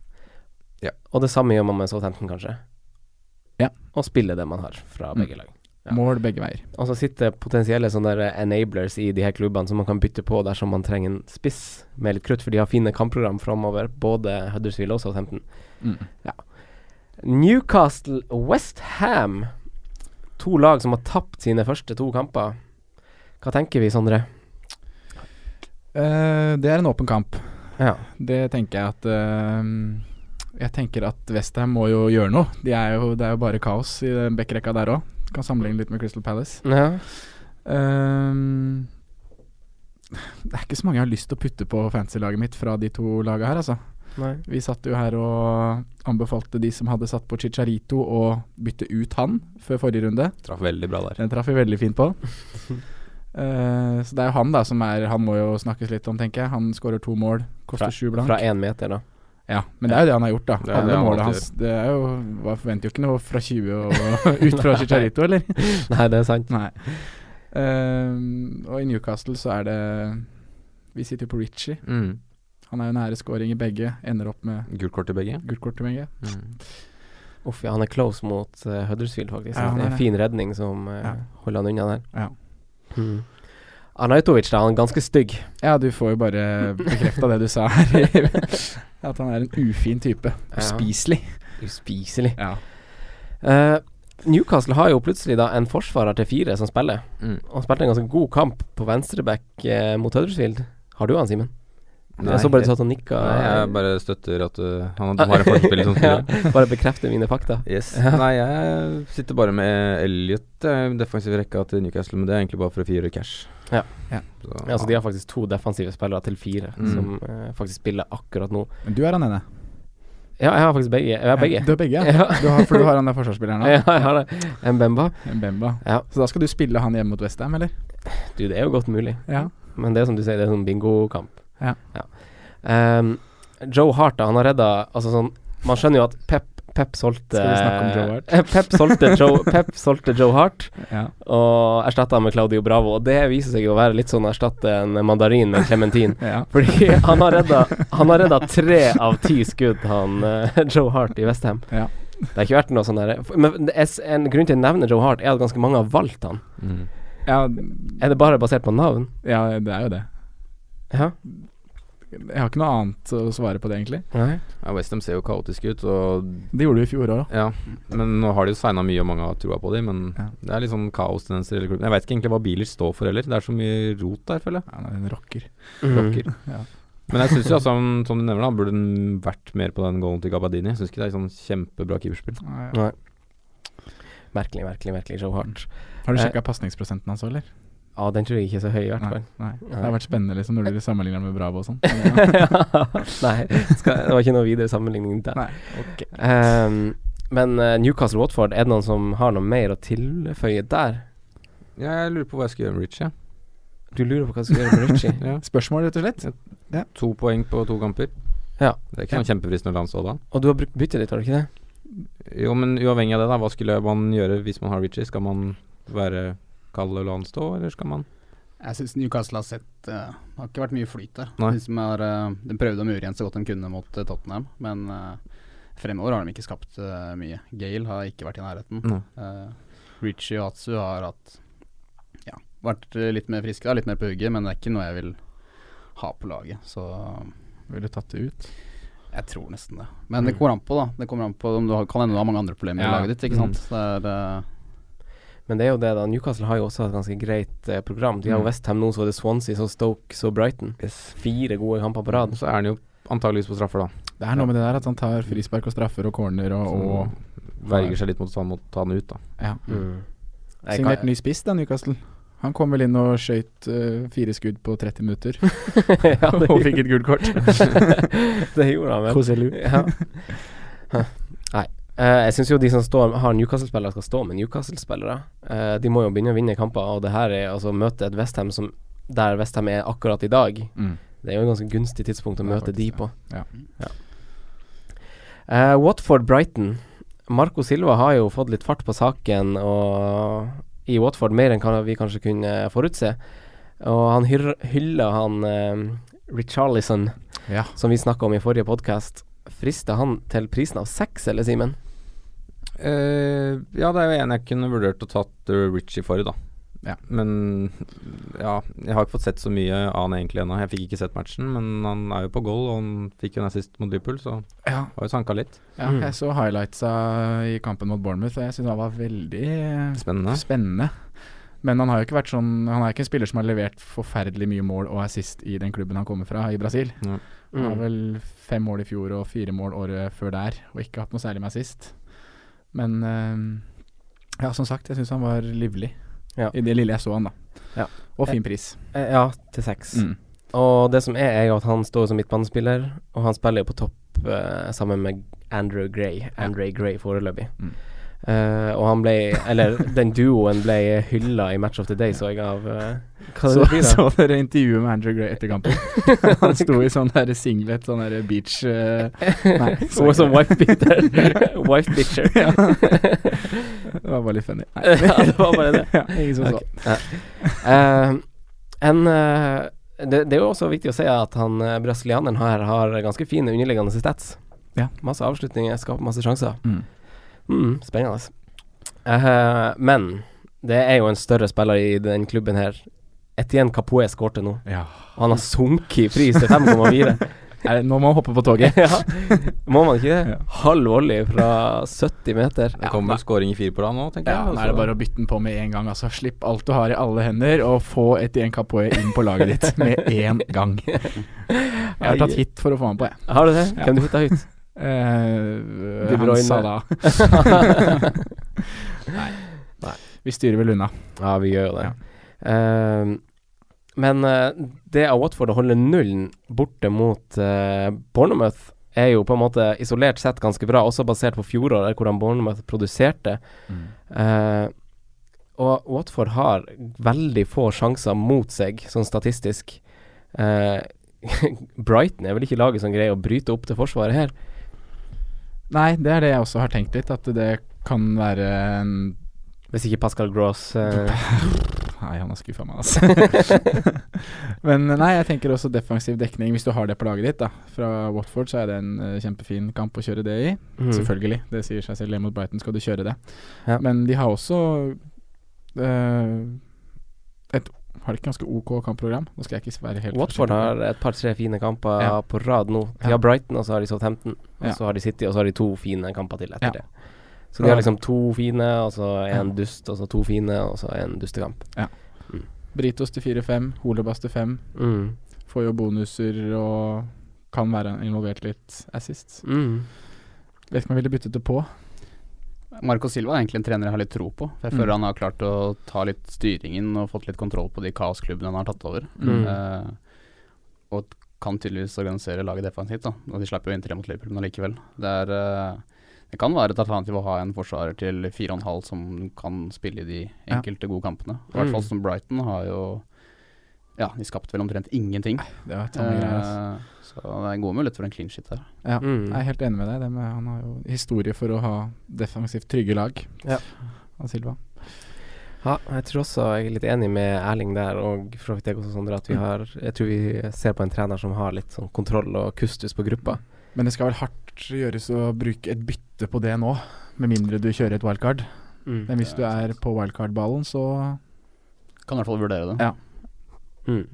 Ja.
og det samme gjør man med Southampton, kanskje.
Ja.
Og spiller det man har fra
Mm.
begge lag. Ja.
Mål begge veier.
Og så sitter potensielle sånne der enablers i de her klubbene som man kan bytte på dersom man trenger en spiss med litt krutt, for de har fine kampprogram framover, både Huddersfield og Southampton.
Mm.
Newcastle Westham. To lag som har tapt sine første to kamper. Hva tenker vi, Sondre?
Eh, det er en åpen kamp.
Ja.
Det tenker jeg at eh, Jeg tenker at Westham må jo gjøre noe. De er jo, det er jo bare kaos i den backrekka der òg. Kan sammenligne litt med Crystal Palace. Ehm, det er ikke så mange jeg har lyst til å putte på fancy-laget mitt fra de to laga her, altså.
Nei.
Vi satt jo her og anbefalte de som hadde satt på Chicharito å bytte ut han før forrige runde.
Traff veldig bra der.
Den traff vi veldig fint på. Eh, så det er jo han da som er Han må jo snakkes litt om, tenker jeg. Han skårer to mål, koster sju blank.
Fra én meter, da.
Ja, men det er jo det han har gjort, da.
Det er
Alle
det han
målene
alltid
hans Det er jo Man forventer jo ikke noe fra 20 og ut fra Chicharito, eller?
Nei, det er sant.
Nei. Ehm, og i Newcastle så er det Vi sitter jo på Ritchie.
Mm.
Han er jo nære scoring i begge. Ender opp med
Gult kort til begge.
gult kort til begge.
Mm.
Uff, ja, han er close mot eh, Huddersfield, faktisk.
Ja, han
det er
er
en fin redning som eh,
Ja.
holder han unna der.
Ja.
Mm. Arnautovic, da. Han er ganske stygg.
ja, du får jo bare bekrefta det du sa her. At han er en ufin type.
Ja.
Uspiselig.
Uspiselig.
Ja.
Eh, Newcastle har jo plutselig da en forsvarer til fire som spiller.
Mm.
Han spilte en ganske god kamp på venstreback eh, mot Huddersfield. Har du han, Simen?
Nei,
Jeg så bare du satt og eh, nikka.
Nei, jeg bare støtter at uh, han har en forspiller som spiller.
Ja, bare bekrefte mine fakta.
Yes.
Ja.
Nei, jeg sitter bare med Elliot, eh, defensiv rekka til Newcastle, men det er egentlig bare for å frigjøre cash.
Ja.
Ja.
Så,
Ja, så de har faktisk to defensive spillere til fire
Mm.
som eh, faktisk spiller akkurat nå.
Men du er han ene.
Ja, jeg har faktisk begge. Jeg har begge.
Du er begge, ja.
Ja.
Du har, for du har han der forsvarsspilleren
Ja,
òg.
jeg har det. Mbemba.
Bemba.
Ja.
Så da skal du spille han hjemme mot Westham, eller?
Du, det er jo godt mulig.
Ja.
Men det er som du sier, det er sånn bingokamp.
Ja.
Ehm, Joe Hart, da, han har redda Altså sånn Man skjønner jo at Pep Pep solgte
Skal vi snakke om Joe Hart?
Pep solgte Joe, Pep solgte Joe Hart
ja.
og erstatta han med Claudio Bravo. Og det viser seg jo å være litt sånn å erstatte en mandarin med en klementin.
Ja.
Fordi han har redda Han har redda tre av ti skudd, han eh, Joe Hart i Westham.
Ja.
Det har ikke vært noe sånn derre Men det er, s- en grunn til å nevne Joe Hart, er at ganske mange har valgt han.
Mm.
Ja,
Er det bare basert på navn?
ja, det er jo det.
Ja.
Jeg har ikke noe annet å svare på det, egentlig.
Nei.
Ja, Westham ser jo kaotiske ut, og
Det gjorde vi i fjor òg.
ja. Men nå har de jo signa mye, og mange har trua på dem, men
Ja.
det er litt sånn kaostendenser i hele klubben. Jeg veit ikke egentlig hva biler står for heller. Det er så mye rot der, føler jeg.
Ja, nei, den rocker.
Mm.
Rocker.
Ja.
Men jeg syns jo, altså, som- som du nevner, da, burde den vært mer på den goalen til Gabadini. Syns ikke det er sånn kjempebra keeperspill.
Nei,
Nei. Merkelig, merkelig, merkelig show hardt.
Har du sjekka pasningsprosenten hans òg, eller?
Ja, den tror jeg ikke er så høy, i hvert fall.
Nei, nei. Det har vært spennende liksom når dere sammenligner med Bravo og sånn.
Nei, skal, det var ikke noe videre sammenligning der.
Nei, ok.
Ehm, men eh, Newcastle-Watford, er det noen som har noe mer å tilføye der?
Jeg lurer på hva jeg skal gjøre med Richie.
Du lurer på hva du skal gjøre med Ritchie?
Ja.
Spørsmål, rett og slett?
To poeng på to kamper.
Ja.
Det er ikke sånn kjempefristende landslag da.
Og du har brukt byttet ditt, har du ikke det?
Jo, men uavhengig av det, da. Hva skulle man gjøre hvis man har Richie? Skal man være kald og la han stå, eller skal man
Jeg syns Newcastle har sett eh, Det har ikke vært mye flyt der.
Nei.
De, som har, eh, de prøvde å mure igjen så godt de kunne mot eh, Tottenham, men eh, fremover har de ikke skapt eh, mye. Gale har ikke vært i nærheten.
Mm.
Nei.
Eh, Richie og Atsu har hatt Ja, vært eh, litt mer friske, da, litt mer på hugget, men det er ikke noe jeg vil ha på laget. Så
Ville tatt det ut. Mm.
jeg tror nesten det. Men det kommer an på, da. Det kommer an på om du har, kan hende du har mange andre problemer i
Ja. Mm.
laget ditt, ikke sant. Det er eh,
Men det er jo det, da. Newcastle har jo også et ganske greit eh, program.
Mm.
De har jo Westham nå, så er det Swansea, så Stoke, så Brighton. Fire gode kamper på rad.
Så er han jo antageligvis på straffer, da.
Det er noe med det der at han tar frispark og straffer og corner og,
Og
og
verger seg litt mot å ta- ta han ut, da.
ja.
Mm. Jeg
Signert
kan-
ny spiss, da, Newcastle. Han kom vel inn og skøyt eh, fire skudd på 30 minutter
ja, det,
og fikk et gult kort.
gjorde- det gjorde han vel. Ja. Hæ. Nei. Eh, jeg syns jo de som står, har Newcastle-spillere, skal stå med Newcastle-spillere. Eh, de må jo begynne å vinne kamper, og det her er altså å møte et Westham som der Westham er akkurat i dag.
Mm.
Det er jo et ganske gunstig tidspunkt å
Det er
møte de
faktisk
på.
det, ja.
Eh, Watford-Brighton. Marco Silva har jo fått litt fart på saken og i Watford mer enn hva vi kanskje kunne forutse. Og han hyr- hyller han eh, Richarlison,
Ja.
som vi snakka om i forrige podkast. Frister han til prisen av seks, eller, Simen?
Eh, ja, det er jo en jeg kunne vurdert å tatt eh, Richie for, da.
Ja.
Men ja, jeg har ikke fått sett så mye av han egentlig ennå. Jeg fikk ikke sett matchen, men han er jo på goal, og han fikk jo en assist mot Liverpool, så
Ja.
har jo sanka litt.
ja,
Mm.
jeg så highlightsa i kampen mot Bournemouth, og jeg syns han var veldig eh,
Spennende.
spennende. Men han har jo ikke vært sånn Han er ikke en spiller som har levert forferdelig mye mål og assist i den klubben han kommer fra, i Brasil. Han
Mm.
har vel fem mål i fjor og fire mål året før der, og ikke hatt noe særlig med assist. Men eh, ja, som sagt, jeg syns han var livlig
Ja.
i det lille jeg så han, da.
Ja.
Og fin pris.
Eh, Ja, til
Mm.
seks. Og det som er, er jo at han står som midtbanespiller, og han spiller jo på topp eh, sammen med Andrew Gray, Andre Gray foreløpig.
Mm.
Eh, og han ble Eller den duoen ble hylla i Match of the Day, så jeg av eh, Hva
Så,
det blir da?
så dere intervjuet med Andrew Gray etter kampen. Han sto i sånn der singlet, sånn der beach eh, Nei,
Hun var sånn wife beater. wife bitcher.
Ja. Det var bare litt funny. Nei.
Ja, det var bare det.
Ja, ingen som
Ok. Eh, en, eh, det, det er jo også viktig å si at han eh, brasilianeren her har ganske fine underliggende stats.
Ja.
Masse avslutninger, skaper masse
så.
sjanser.
Mm.
Mm, spennende. Eh, men det er jo en større spiller i den klubben her. Etienne Capoe skårte nå.
Ja.
Og han har sunket i pris til 5,4.
Nei, nå må han hoppe på toget.
ja, må man ikke det?
Ja.
Halv volley fra 70 meter.
Det kommer vel skåring i fire på rad nå, tenker
Ja,
jeg. Altså.
nå er det bare å bytte den på med en gang. Altså. Slipp alt du har i alle hender, og få Etienne Capoe inn på laget ditt med en gang. Jeg har tatt hit for å få han på, jeg.
Har du det?
Ja.
Hvem du hitta høyt?
Eh,
De Bruyne.
han sa da Vi styrer vel unna.
ja, vi gjør jo det. Eh, men eh, det av Watford å holde nullen borte mot eh, Bournemouth er jo på en måte isolert sett ganske bra, også basert på fjoråret, hvordan Bournemouth produserte. Eh, og Watford har veldig få sjanser mot seg, sånn statistisk. Eh, Brighton er vel ikke laget som greier å bryte opp til forsvaret her.
Nei, det er det jeg også har tenkt litt, at det kan være en
Hvis ikke Pascal Gross eh,
Nei, han har skuffa meg, altså. Men eh, nei, jeg tenker også defensiv dekning, hvis du har det på laget ditt, da. Fra Watford så er det en eh, kjempefin kamp å kjøre det i.
mm.
Selvfølgelig, det sier seg selv. Hjemme mot Brighton skal du kjøre det.
Ja.
Men de har også eh, et har de ikke ganske OK kampprogram? Nå skal jeg ikke være helt
Watford
forsiktig.
har et par-tre fine kamper
Ja.
på rad nå. De
Ja.
har Brighton, og så har de Southampton. Og
Ja.
så har de City, og så har de to fine kamper til etter
Ja.
det. Så de har liksom to fine, og så en
Ja.
dust, og så to fine, og så en dustekamp.
Britos til 4-5, Holebas til 5.
Mm.
Får jo bonuser og kan være involvert litt assist.
Mm.
Vet ikke om jeg ville byttet det på.
Marco Silva er egentlig en trener jeg har litt tro på. For jeg
Mm.
føler han har klart å ta litt styringen og fått litt kontroll på de kaosklubbene han har tatt over.
Mm.
Eh, og kan tydeligvis organisere laget defensivt, da. Og de slapp jo inn tre mot Liverpool, men allikevel. Det er eh, det kan være et alternativ å ha en forsvarer til 4,5 som kan spille i de
Ja.
enkelte gode kampene. I hvert fall
Mm.
som Brighton har jo Ja, de skapte vel omtrent ingenting.
Det var et annet greier, ass.
Eh, så det er gode muligheter for en clean shit her.
Eh, Ja,
Mm.
Jeg er helt enig med deg. Det med, han har jo historie for å ha defensivt trygge lag.
Ja.
Av Silva.
Ja, jeg tror også jeg er litt enig med Erling der, og for så vidt jeg også, Sondre, at vi har Jeg tror vi ser på en trener som har litt sånn kontroll og kustus på gruppa.
Men det skal vel hardt gjøres å bruke et bytte på det nå, med mindre du kjører et wildcard.
Mm.
Men hvis du er på wildcard-ballen, så
Kan i hvert fall vurdere det.
Ja.
Mm.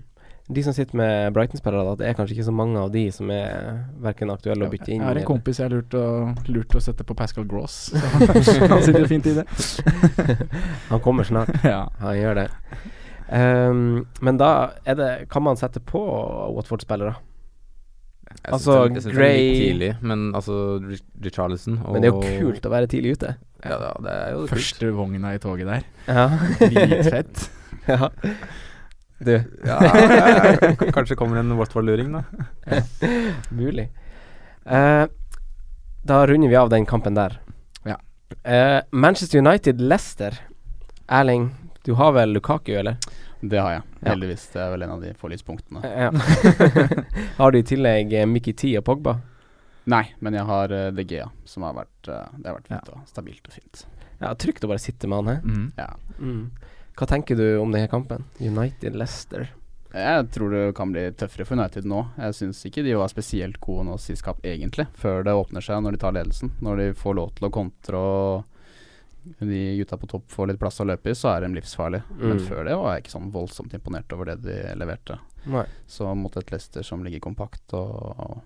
De som sitter med Brighton-spillere, da, det er kanskje ikke så mange av de som er verken aktuelle å bytte
Jeg
inn
har en
eller-
kompis jeg har lurt å, lurt å sette på Pascal Gross. Så han sitter fint i det.
Han kommer snart.
Ja.
Han gjør det. Ehm, men da er det Kan man sette på Watford-spillere?
Jeg syns det- jeg
Altså,
syns det er litt
Gray-
tidlig, men altså Rich- Richarlison og
Men det er jo kult å være tidlig ute.
Ja, ja, det er jo kult.
Første vogna i toget der.
Ja.
Dritfett.
ja. Du,
Ja, ja, ja. K- Kanskje kommer en Watford-luring, da.
mulig. Eh, da runder vi av den kampen der.
Ja.
Eh, Manchester United-Lester. Erling, du har vel Lukaku, eller?
Det har jeg,
Ja.
heldigvis. Det er vel en av de få lyspunktene.
Ja. har du i tillegg eh, Mickey T og Pogba?
Nei, men jeg har eh, De Gea, som har vært, eh, det har vært fint og stabilt og fint.
Ja, trygt å bare sitte med han her.
Mm.
Ja.
Hva tenker du om denne kampen? United-Lester.
Jeg tror det kan bli tøffere for United nå. Jeg syns ikke de var spesielt gode nå sist kamp, egentlig. Før det åpner seg, når de tar ledelsen. Når de får lov til å kontre og de gutta på topp får litt plass å løpe i, så er de livsfarlige. Men
Mm.
før det var jeg ikke sånn voldsomt imponert over det de leverte.
Nei.
Så mot et Leicester som ligger kompakt og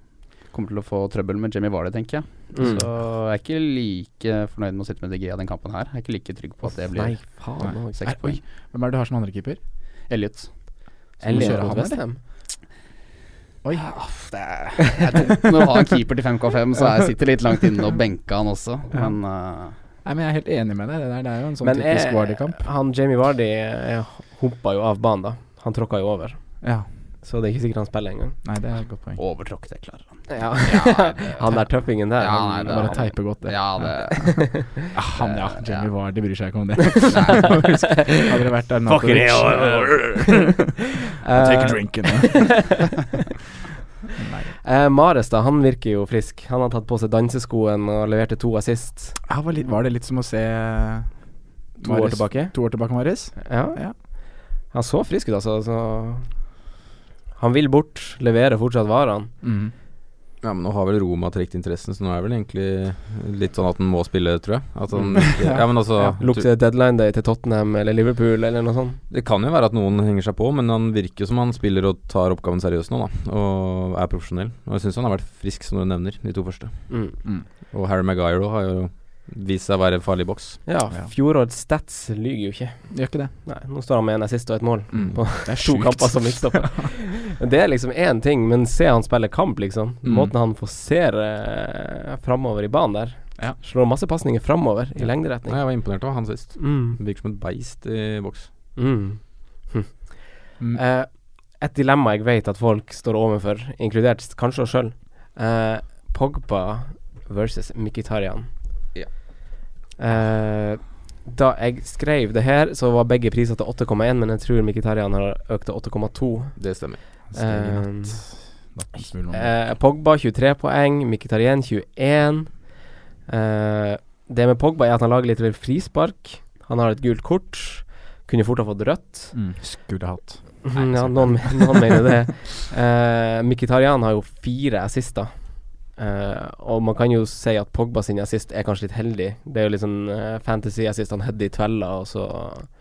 kommer til å få trøbbel med Jamie Vardy, tenker jeg.
Mm.
Så jeg er ikke like fornøyd med å sitte med DG i den kampen her. Jeg er ikke like trygg på at det
Nei,
blir
faen
Nei.
òg.
seks
Oi,
poeng.
hvem er det du har som andrekeeper?
Elliot.
Skal vi
Eller
kjøre han,
mot
eller?
Westham.
Oi.
Aff, Ah, det er, det er dumt når du har en keeper til 5K5, så jeg sitter litt langt inne og benker han også.
Ja.
Men eh,
Nei, men jeg er helt enig med deg. Det der det er jo en sånn
Men
typisk
eh,
Wardy-kamp.
han Jamie Vardy eh, humpa jo av banen, da. Han tråkka jo over.
Ja.
Så det er ikke sikkert han spiller engang.
Nei, det er et godt poeng.
overtråkk, det klarer han.
Ja.
Ja, det-
han der tøffingen der.
Ja,
han,
nei,
Bare
han-
teipe godt, det.
Ja, det
Ja, Ah, han, ja.
Eh,
Jamie
ja.
Vardy bryr seg ikke om det. Hadde det vært Arnatovic Eh, Take a drink. Nei.
eh, Mares, da, han virker jo frisk. Han har tatt på seg danseskoen og leverte to assist.
Ja, var, litt, var det litt som å se eh,
To år tilbake.
To år tilbake, Marius?
Ja.
Ja.
Han så frisk ut, altså. Så han vil bort, leverer fortsatt varene.
Mm.
Ja, men nå har vel Roma trukket interessen, så nå er det vel egentlig litt sånn at han må spille, tror jeg. At han ikke Ja, men altså
Ja,
Lukter deadline day til Tottenham eller Liverpool eller noe sånt.
Det kan jo være at noen henger seg på, men han virker jo som han spiller og tar oppgaven seriøst nå, da. Og er profesjonell. Og jeg syns han har vært frisk, som du nevner, de to første.
Mm.
Og Harry Maguire har jo vist seg å være farlig i boks.
Ja,
Ja.
fjorårets stats lyver jo ikke.
Gjør ikke det.
Nei, nå står han med en assist og et mål.
Mm.
På
Det er
to kamper som midtstopper. det er liksom én ting, men se han spille kamp, liksom.
Mm.
Måten han forserer eh, framover i banen der.
Ja.
Slår masse pasninger framover i lengderetning.
Nei, jeg var imponert av han sist.
Mm.
Virker som et beist i boks.
Mm.
Mm.
Eh, et dilemma jeg vet at folk står overfor, inkludert s- kanskje oss sjøl. Eh, Pogba versus Mkhitaryan.
Ja.
Eh, da jeg skrev det her, så var begge priser til 8,1, men jeg tror Mkhitaryan har økt til 8,2.
Det stemmer.
Steg i natt.
ehm,
Nattens smul om det.
Eh, Pogba 23 poeng, Mkhitaryan 21. Eh, det med Pogba er at han lager litt vel frispark. Han har et gult kort. Kunne fort ha fått rødt.
Mm. Skulle hatt.
Mm, ja, noen, noen mener det. Eh, Mkhitaryan har jo fire assister. Eh, og man kan jo si at Pogba sin assist er kanskje litt heldig. Det er jo litt sånn eh, fantasy-assist. Han header i tvella, og så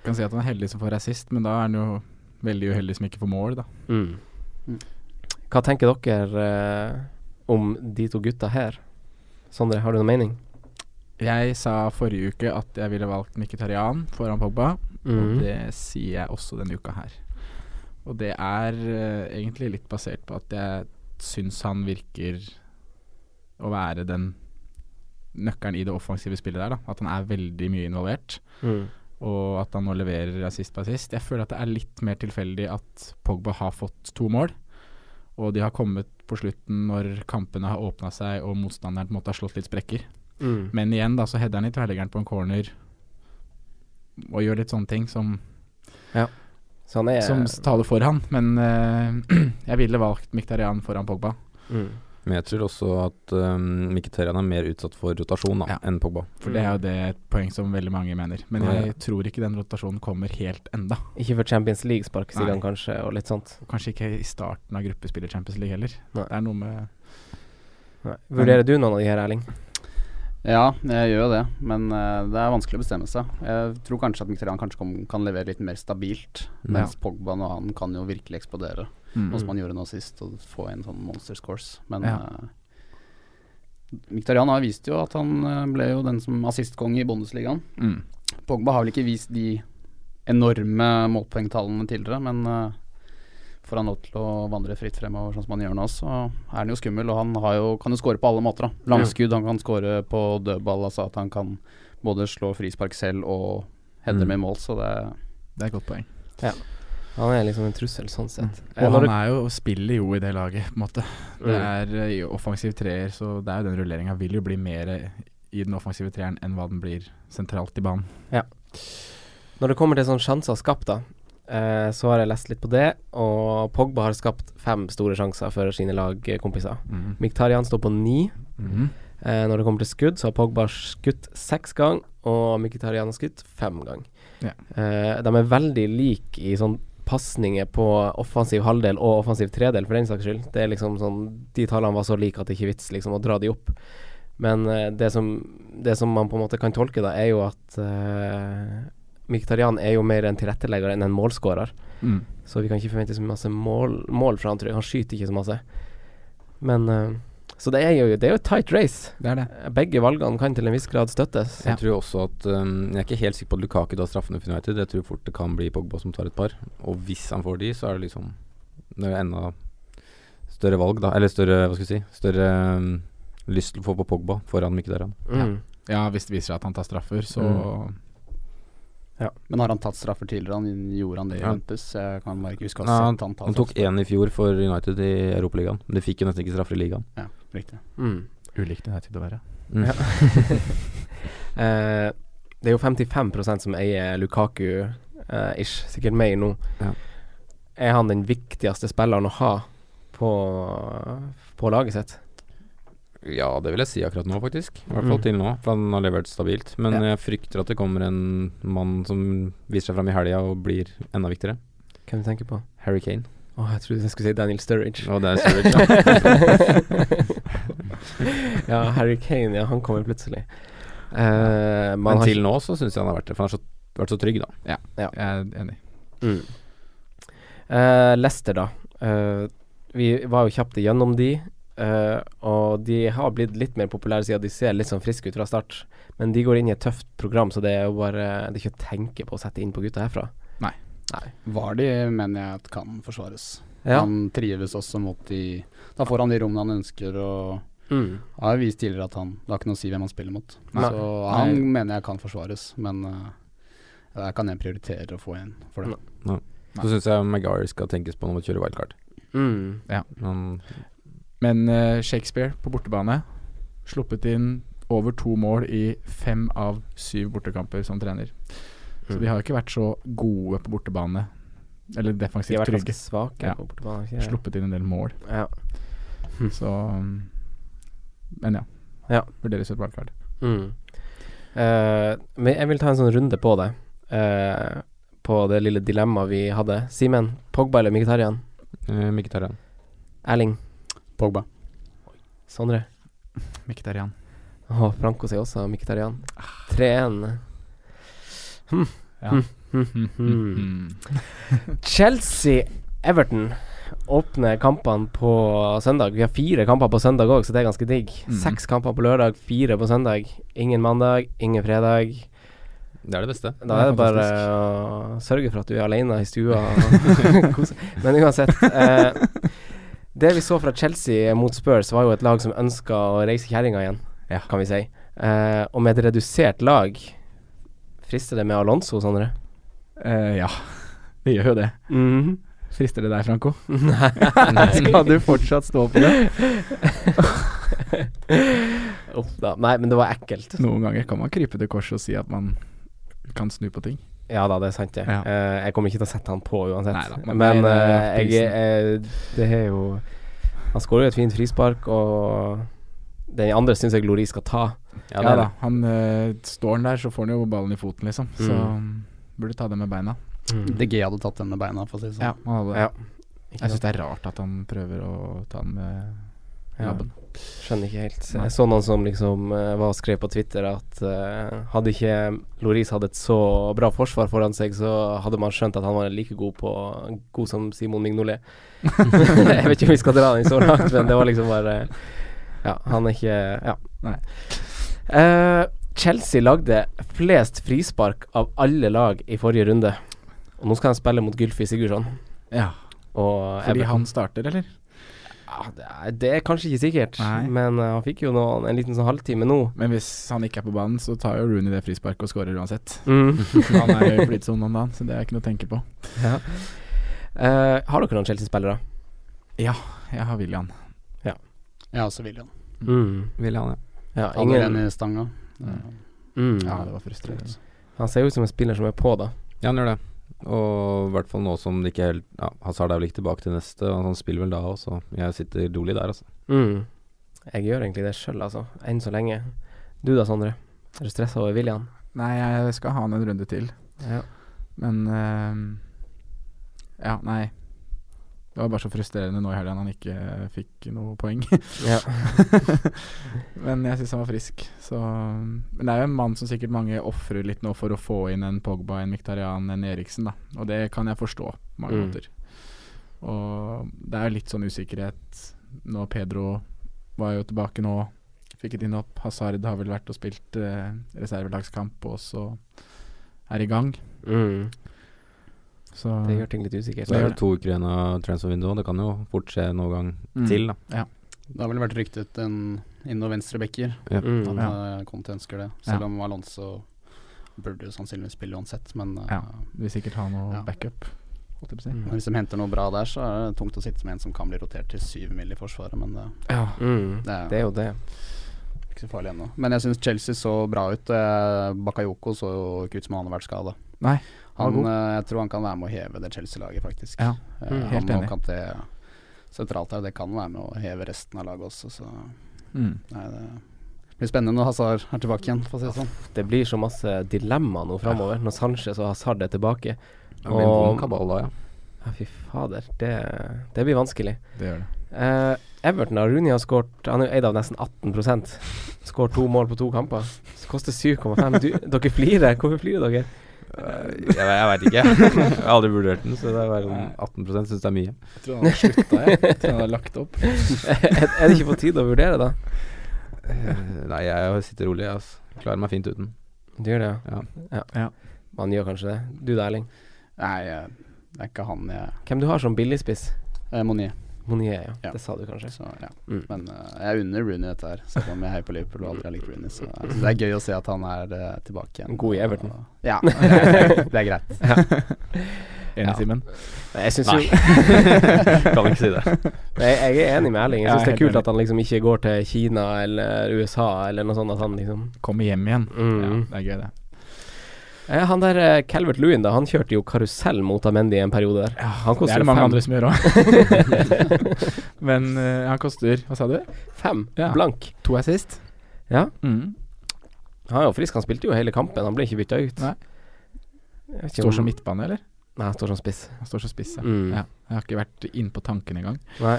Kan si at han er heldig som får assist, men da er han jo Veldig uheldig som ikke får mål, da.
Mm.
Mm.
Hva tenker dere eh, om de to gutta her? Sondre, har du noen mening?
Jeg sa forrige uke at jeg ville valgt Mkhitaryan foran Pogba,
Mm.
og det sier jeg også denne uka her. Og det er eh, egentlig litt basert på at jeg syns han virker å være den nøkkelen i det offensive spillet der, da. At han er veldig mye involvert,
Mm.
og at han nå leverer assist på assist. Jeg føler at det er litt mer tilfeldig at Pogba har fått to mål, og de har kommet på slutten når kampene har åpna seg og motstanderen på en måte har slått litt sprekker.
Mm.
Men igjen da, så header han i tverrleggeren på en corner og gjør litt sånne ting som,
Så han er
som taler for han. Men eh, jeg ville valgt Miktarian foran Pogba.
mm.
Men jeg tror også at um, Mkhitaryan er mer utsatt for rotasjon da,
Ja.
enn Pogba.
For det er jo det et poeng som veldig mange mener. Men jeg tror ikke den rotasjonen kommer helt enda.
Ikke for Champions League sparkes i
Nei.
gang, kanskje, og litt sånt.
Og Kanskje ikke i starten av gruppespillet Champions League heller.
Nei.
Det er noe med
Vurderer du noen av de her, Erling?
Ja, jeg gjør jo det, men eh, det er vanskelig å bestemme seg. Jeg tror kanskje at Mkhitaryan kanskje kom, kan levere litt mer stabilt, mens Pogba og han kan jo virkelig eksplodere,
Mm.
noe som han gjorde nå sist, og få en sånn monster scores. Men
Ja.
eh, Mkhitaryan har vist jo at han eh, ble jo den som assistkonge i Bundesligaen.
Mm.
Pogba har vel ikke vist de enorme målpoengtallene tidligere, men eh, får han lov til å vandre fritt fremover sånn som han gjør nå, så er han jo skummel. Og han har jo, kan jo skåre på alle måter. da. Langskudd, han kan skåre på dødball. Altså at han kan både slå frispark selv og heade
Mm.
med mål, så det
Det er et godt poeng.
Han er liksom en trussel, sånn sett. Eh,
Og
når
han er jo, spiller jo i det laget, på en måte.
du-
Det er eh, i offensiv treer, så det er jo den rulleringa vil jo bli mer eh, i den offensive treeren enn hva den blir sentralt i banen.
Når det kommer til sånne sjanser skapt, da, eh, så har jeg lest litt på det, og Pogba har skapt fem store sjanser for sine lagkompiser.
Mm.
Miktarian står på ni.
Mhm.
Eh, når det kommer til skudd, så har Pogba skutt seks gang, og Mkhitaryan har skutt fem gang.
Ja.
Eh, de er veldig like i sånn pasninger på offensiv halvdel og offensiv tredel, for den saks skyld. Det er liksom sånn, De tallene var så like at det ikke er vits liksom å dra de opp. Men eh, det, som, det som man på en måte kan tolke, da, er jo at eh, Mkhitaryan er jo mer en tilrettelegger enn en målskårer.
Mm.
Så vi kan ikke forvente så masse mål, mål fra han, tror jeg. Han skyter ikke så masse. Men eh, Så det er jo, det er jo et tight race.
Det er det.
Begge valgene kan til en viss grad støttes.
Jeg tror også at um, Jeg er ikke helt sikker på at Lukaku tar straffene for United. Jeg tror fort det kan bli Pogba som tar et par. Og hvis han får de, så er det liksom Det er enda større valg, da. Eller større, hva skal vi si Større um, lyst til å få på Pogba foran Mkhitaryan.
Mm.
Ja, hvis det viser seg at han tar straffer, så Mm.
Men har han tatt straffer tidligere? Han gjorde han det i
Ja.
Juventus? Jeg kan bare ikke huske altså. å ha
Nei,
sett han ta
Han tok
straffer.
én i fjor for United i Europaligaen. Men de fikk jo nesten ikke straffer i ligaen.
Ja, riktig.
Mm.
ulikt det er til å være.
Mm.
Ja. Eh, det er jo 55 som eier Lukaku-ish, sikkert mer nå.
Ja.
Er han den viktigste spilleren å ha på, på laget sitt?
Ja, det vil jeg si akkurat nå, faktisk. I hvert
Mm.
fall til nå, for han har levert stabilt. Men jeg frykter at det kommer en mann som viser seg fram i helga og blir enda viktigere.
Hvem du tenker på?
Harry Kane.
Å, jeg trodde jeg skulle si Daniel Sturridge.
Og det er Sturridge, ja.
ja, Harry Kane, ja, han kommer plutselig. Eh, man
Men
har
til nå så syns jeg han har vært det, for han har så, vært så trygg, da.
Jeg er enig.
Mm. Eh, Leicester, da. Eh, vi var jo kjapt igjennom de. eh, og de har blitt litt mer populære siden de ser litt sånn friske ut fra start. Men de går inn i et tøft program, så det er jo bare Det er ikke å tenke på å sette inn på gutta herfra.
Var de, mener jeg, at kan forsvares.
Ja.
Han trives også mot de Da får han de rommene han ønsker, og
Mm.
Han har jo vist tidligere at han Det har ikke noe å si hvem han spiller mot.
Nei.
Så han mener jeg kan forsvares, men eh, der kan jeg prioritere å få en for det.
Så syns jeg Maguire skal tenkes på når man kjører wildcard.
Mm.
Men
Men eh, Shakespeare på bortebane sluppet inn over to mål i fem av syv bortekamper som trener. Så
Mm.
de har jo ikke vært så gode på bortebane, eller
De har
defensivt
vært ganske
trygge.
svake
Ja.
på bortebane. ikke det?
Sluppet inn en del mål,
Ja.
så um, Men ja.
Ja.
Vurderes et wildcard.
Mm. Eh, men jeg vil ta en sånn runde på det. Eh, på det lille dilemmaet vi hadde. Simen, Pogba eller Mkhitaryan?
uh, Mkhitaryan.
Erling?
Pogba.
Sondre?
Mkhitaryan.
Og Franco sier også Mkhitaryan. 3-1.
Ja. Hmm.
Hm. Hmm. Chelsea Everton åpner kampene på søndag. Vi har fire kamper på søndag òg, så det er ganske digg.
Mhm.
Seks kamper på lørdag, fire på søndag. Ingen mandag, ingen fredag.
Det er det beste.
Da er det bare å sørge for at du er alene i stua. og kose. Men uansett eh, Det vi så fra Chelsea mot Spurs, var jo et lag som ønska å reise kjerringa igjen,
Ja.
kan vi si. Eh, og med et redusert lag frister det med Alonso, Sondre?
Eh, ja, det gjør jo det.
Mhm.
Frister det deg, Franco?
Nei.
Skal du fortsatt stå på det?
Uff da. Nei, men det var ekkelt.
Noen ganger kan man krype til korset og si at man kan snu på ting.
Ja da, det er sant det.
Ja.
Eh, jeg kommer ikke til å sette han på uansett.
Neida,
men
men det
eh,
er
jeg, eh, det er jo Han skårer jo et fint frispark, og den andre syns jeg Lori skal ta.
Ja, det
Ja
er
da, han eh, står han der, så får han jo ballen i foten, liksom. Så
Mm.
burde ta det med beina.
Mm.
DG hadde tatt den med beina, for å si det sånn.
Ja, han hadde det.
Ja.
Jeg syns det er rart at han prøver å ta den med
Ja.
labben.
Skjønner ikke helt.
Nei.
Jeg så noen som liksom eh, var og skrev på Twitter at eh, hadde ikke Loris hatt et så bra forsvar foran seg, så hadde man skjønt at han var like god på God som Simon Mignolet. jeg vet ikke om vi skal dra den så langt, men det var liksom bare Ja, han er ikke Ja.
Nei.
Eh, Chelsea lagde flest frispark av alle lag i forrige runde. Og nå skal han spille mot Gylfi Sigurdsson.
Ja,
Og
fordi
Everton.
han starter, eller?
ja, det, er, det er kanskje ikke sikkert,
Nei.
men eh, han fikk jo noen, en liten sånn halvtime nå.
Men hvis han ikke er på banen, så tar jo Rooney det frisparket og skårer uansett.
Mm.
Han er jo i flytsonen om dagen, så det er ikke noe å tenke på.
Eh, har dere noen Chelsea-spillere?
Jeg har William.
Ja, også William.
Mm.
Ville han, ja.
Ja,
Hadde den
ingen
i stanga.
mm.
Ja, det var frustrerende.
Han ser jo ut som en spiller som er på, da.
Ja, han gjør det. Og i hvert fall nå som det ikke helt ja, Hazard er vel ikke tilbake til neste, og han spiller vel da òg, så jeg sitter rolig der, altså.
Mm. Jeg gjør egentlig det sjøl, altså. Enn så lenge. Du da, Sondre? Er du stressa over William?
Nei, jeg skal ha han en runde til,
Ja.
men ehm, Ja, nei. Det var bare så frustrerende nå i helga han ikke eh, fikk noe poeng.
ja.
men jeg syns han var frisk, så Men det er jo en mann som sikkert mange ofrer litt nå for å få inn en Pogba, en Miktarian, en Eriksen, da. Og det kan jeg forstå på mange
Mm.
måter. Og det er jo litt sånn usikkerhet nå. Pedro var jo tilbake nå, fikk et innhopp. Hazard har vel vært og spilt eh, reservelagskamp, og så er i gang.
Mm.
Så
Det gjør ting litt usikkert.
Så er
gjør
det to uker igjen av transfer-vinduet, det kan jo fort skje noen gang
Mm.
til, da.
Det har vel vært ryktet en inn- og venstrebacker. At
Mm.
Ja.
eh, Conte ønsker det. Selv
Ja.
om Alonso burde jo sannsynligvis spille uansett, men eh,
Ja. vil sikkert ha noe
Ja.
backup, holdt jeg på å si.
Mm.
men hvis de henter noe bra der, så er det tungt å sitte med en som kan bli rotert til syv mil i forsvaret, men det,
Ja.
Mm.
det er
Det er jo det.
ikke så farlig ennå. Men jeg syns Chelsea så bra ut. eh, Bakayoko så jo ikke ut som han har vært skada.
Nei, han
Han,
var god.
eh, jeg tror han kan være med å heve det Chelsea-laget, faktisk.
Ja,
Eh,
mm,
han
helt
og
enig.
Kanté sentralt her, det kan være med å heve resten av laget også, så nei,
Mm.
det blir spennende når Hazard er tilbake igjen, for å si det sånn.
Det blir så masse dilemma nå framover, når Sanchez og Hazard er tilbake.
Det blir en vond
Og-
kabal da, ja.
Ja, fy fader. Det, det blir vanskelig.
Det gjør det.
Eh, Everton og Rooney har skåret Han er jo eid av nesten 18 Skåret to mål på to kamper. Så koster 7,5. Du- Dere flirer. Hvorfor flirer dere?
Eh, Jeg, jeg veit ikke. Jeg har aldri vurdert den, så det er bare sånn 18 syns det er mye.
Jeg tror han hadde slutta, jeg. jeg. Tror han hadde lagt opp.
er, er det ikke på tide å vurdere, da?
Eh, Nei, jeg sitter rolig, jeg, altså. Klarer meg fint uten.
Du gjør det,
Ja.
ja.
Ja.
Man gjør kanskje det. Du da, Erling.
Nei, eh, det er ikke han jeg
Hvem du har som billigspiss?
eh, Monier.
Monier, ja.
Ja.
Det sa du kanskje.
Så, ja.
Mm.
Men eh, jeg unner Rooney dette her, selv om jeg heier på Liverpool og aldri har likt Rooney. Så jeg synes det er gøy å se at han er eh, tilbake igjen.
God i Everton.
Og- Ja, det er, det er greit.
Enig,
Ja.
Simen?
Nei, Jeg syns jo
Kan ikke si det.
Nei, Jeg er enig med Erling. Jeg
Ja,
syns det er
helt
kult
enig.
at han liksom ikke går til Kina eller USA eller noe sånt. At han liksom
Kommer hjem igjen. Ja,
mm.
det er gøy, det.
eh, Han der eh, Calvert Lewin, da. Han kjørte jo karusell mot Amendi en periode der. han
Det er
koster
det mange
fem,
andre som gjør òg. Men eh, han koster Hva sa du?
fem
Ja.
blank.
To assist?
Ja.
Mm.
Han er jo frisk. Han spilte jo hele kampen. Han ble ikke bytta ut.
Nei.
Jeg vet ikke om-
Står som midtbane, eller?
Nei, han står som spiss.
Han står som spiss, ja.
Mm.
ja. Jeg har ikke vært innpå tanken engang.
Nei.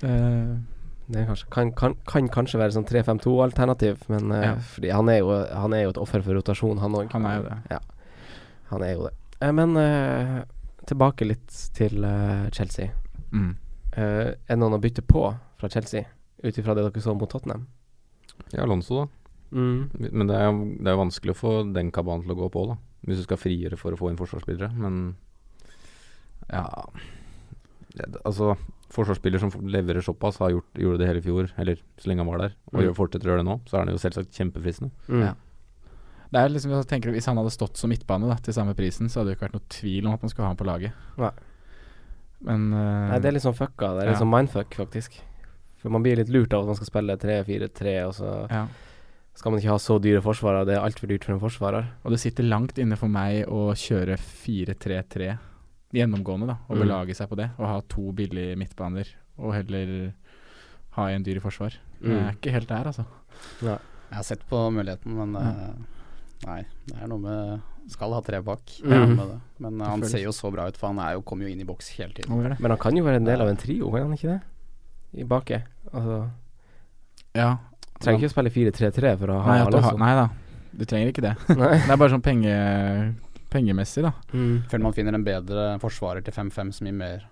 Eh,
Det er kanskje, kan, kan, kan kanskje være sånn 3-5-2-alternativ, men eh,
Ja.
fordi han er, jo, han er jo et offer for rotasjon, han òg.
han er jo det.
Han er jo det. Eh, men eh, tilbake litt til eh, Chelsea.
Mm.
Eh, er det noen å bytte på fra Chelsea, ut ifra det dere så mot Tottenham?
Ja, Alonso, da.
Mm.
Men det er, jo- det er jo vanskelig å få den kabalen til å gå på, da. Hvis du skal frigjøre for å få inn forsvarsspillere, men Ja det, Altså, forsvarsspiller som leverer såpass, har gjort, gjorde det hele i fjor, eller så lenge han var der, og
Mm.
gjør- fortsetter å gjøre det nå, så er han jo selvsagt kjempefristende.
Mm.
Ja. Det er liksom, jeg tenker at Hvis han hadde stått som midtbane da, til samme prisen, så hadde det ikke vært noe tvil om at man skulle ha han på laget.
Nei.
Men eh,
Nei, det er litt sånn fucka. Det er litt
Ja.
sånn mindfuck, faktisk. For man blir litt lurt av at man skal spille 3-4-3, og så
ja.
skal man ikke ha så dyre forsvarere. Det er altfor dyrt for en forsvarer.
Og det sitter langt inne for meg å kjøre 4-3-3 gjennomgående, da, og
Mm.
belage seg på det. Og ha to billige midtbaner, og heller ha en dyr i forsvar. Jeg er ikke helt der, altså.
Jeg har sett på muligheten, men eh, nei. Det er noe med Skal ha tre bak.
Mm.
det er noe Med det. Men eh, han
føles-
ser jo så bra ut, for han er jo, kommer jo inn i boks hele tiden.
Men han kan jo være en del av en trio, er han ikke det? I baki. Altså,
Ja.
trenger ikke å spille 4-3-3 for å ha
Nei, at du altså- har,
Alonso.
nei da, du trenger ikke det.
Nei.
Det er bare sånn penge, pengemessig, da.
Mm.
Føler man finner en bedre forsvarer til 5-5 som gir mer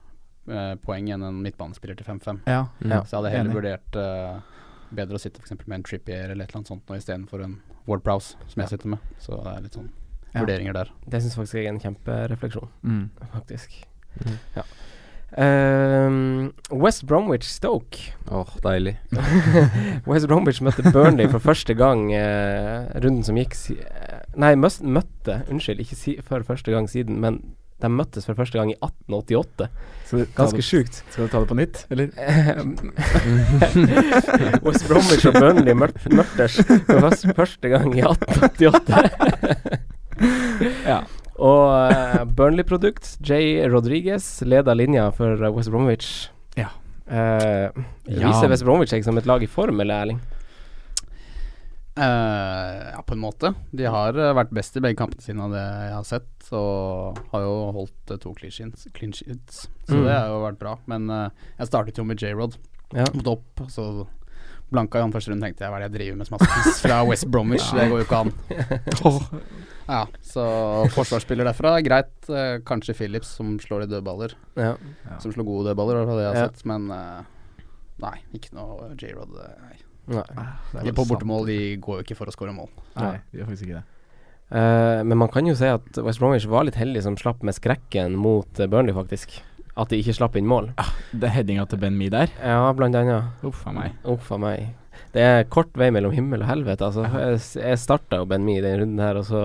eh, poeng enn en midtbanespiller til 5-5.
Ja.
Ja.
Så jeg hadde heller
Enig.
vurdert eh, bedre å sitte f.eks. med en Trippier eller et eller annet sånt nå istedenfor en Ward Prowse, som jeg sitter med. Så det er litt sånn
Ja.
vurderinger der.
Det syns faktisk jeg er en kjemperefleksjon,
Mm.
faktisk.
Mhm.
Ja. Ehm, West Bromwich Stoke.
Åh, deilig.
West Bromwich møtte Burnley for første gang eh, runden som gikk si eh, Nei, møs- møtte, unnskyld, ikke si for første gang siden, men de møttes for første gang i 1888. Ganske sjukt.
Skal du ta det på nytt, eller?
West Bromwich og Burnley møt- møttes for først- første gang i 1888.
Ja.
Og eh, Burnley-produkt, Jay Rodriguez, leda linja for eh, West Bromwich.
Ja.
Eh,
Ja.
Viser West Bromwich seg som et lag i form, eller, Erling?
Eh, ja, på en måte. De har eh, vært best i begge kampene sine av det jeg har sett, og har jo holdt eh, to clinch-ins, clinch-ins. så
Mm.
det har jo vært bra. Men eh, jeg startet jo med J-Rod
Ja.
mot opp, så blanka i han første runde tenkte jeg hva er det jeg driver med som har spist fra West Bromwich,
Ja.
det går jo ikke an. Ja, så forsvarsspiller derfra er greit. Eh, kanskje Phillips som slår de dødballer,
ja.
som slo gode dødballer, var det jeg har
Ja.
sett, men eh, nei, ikke noe J-Rod. eh, nei.
Nei.
Ah,
De på bortemål, de går jo ikke for å skåre mål.
Nei, vi gjør faktisk ikke det.
Eh, men man kan jo si at West Bromwich var litt heldig som slapp med skrekken mot eh, Burnley, faktisk. At de ikke slapp inn mål.
Det er headinga til Ben Me der.
Ja, blant annet.
Uff a meg.
Uff a meg. Det er kort vei mellom himmel og helvete. Altså, jeg s- jeg starta jo Ben Mee i den runden her, og så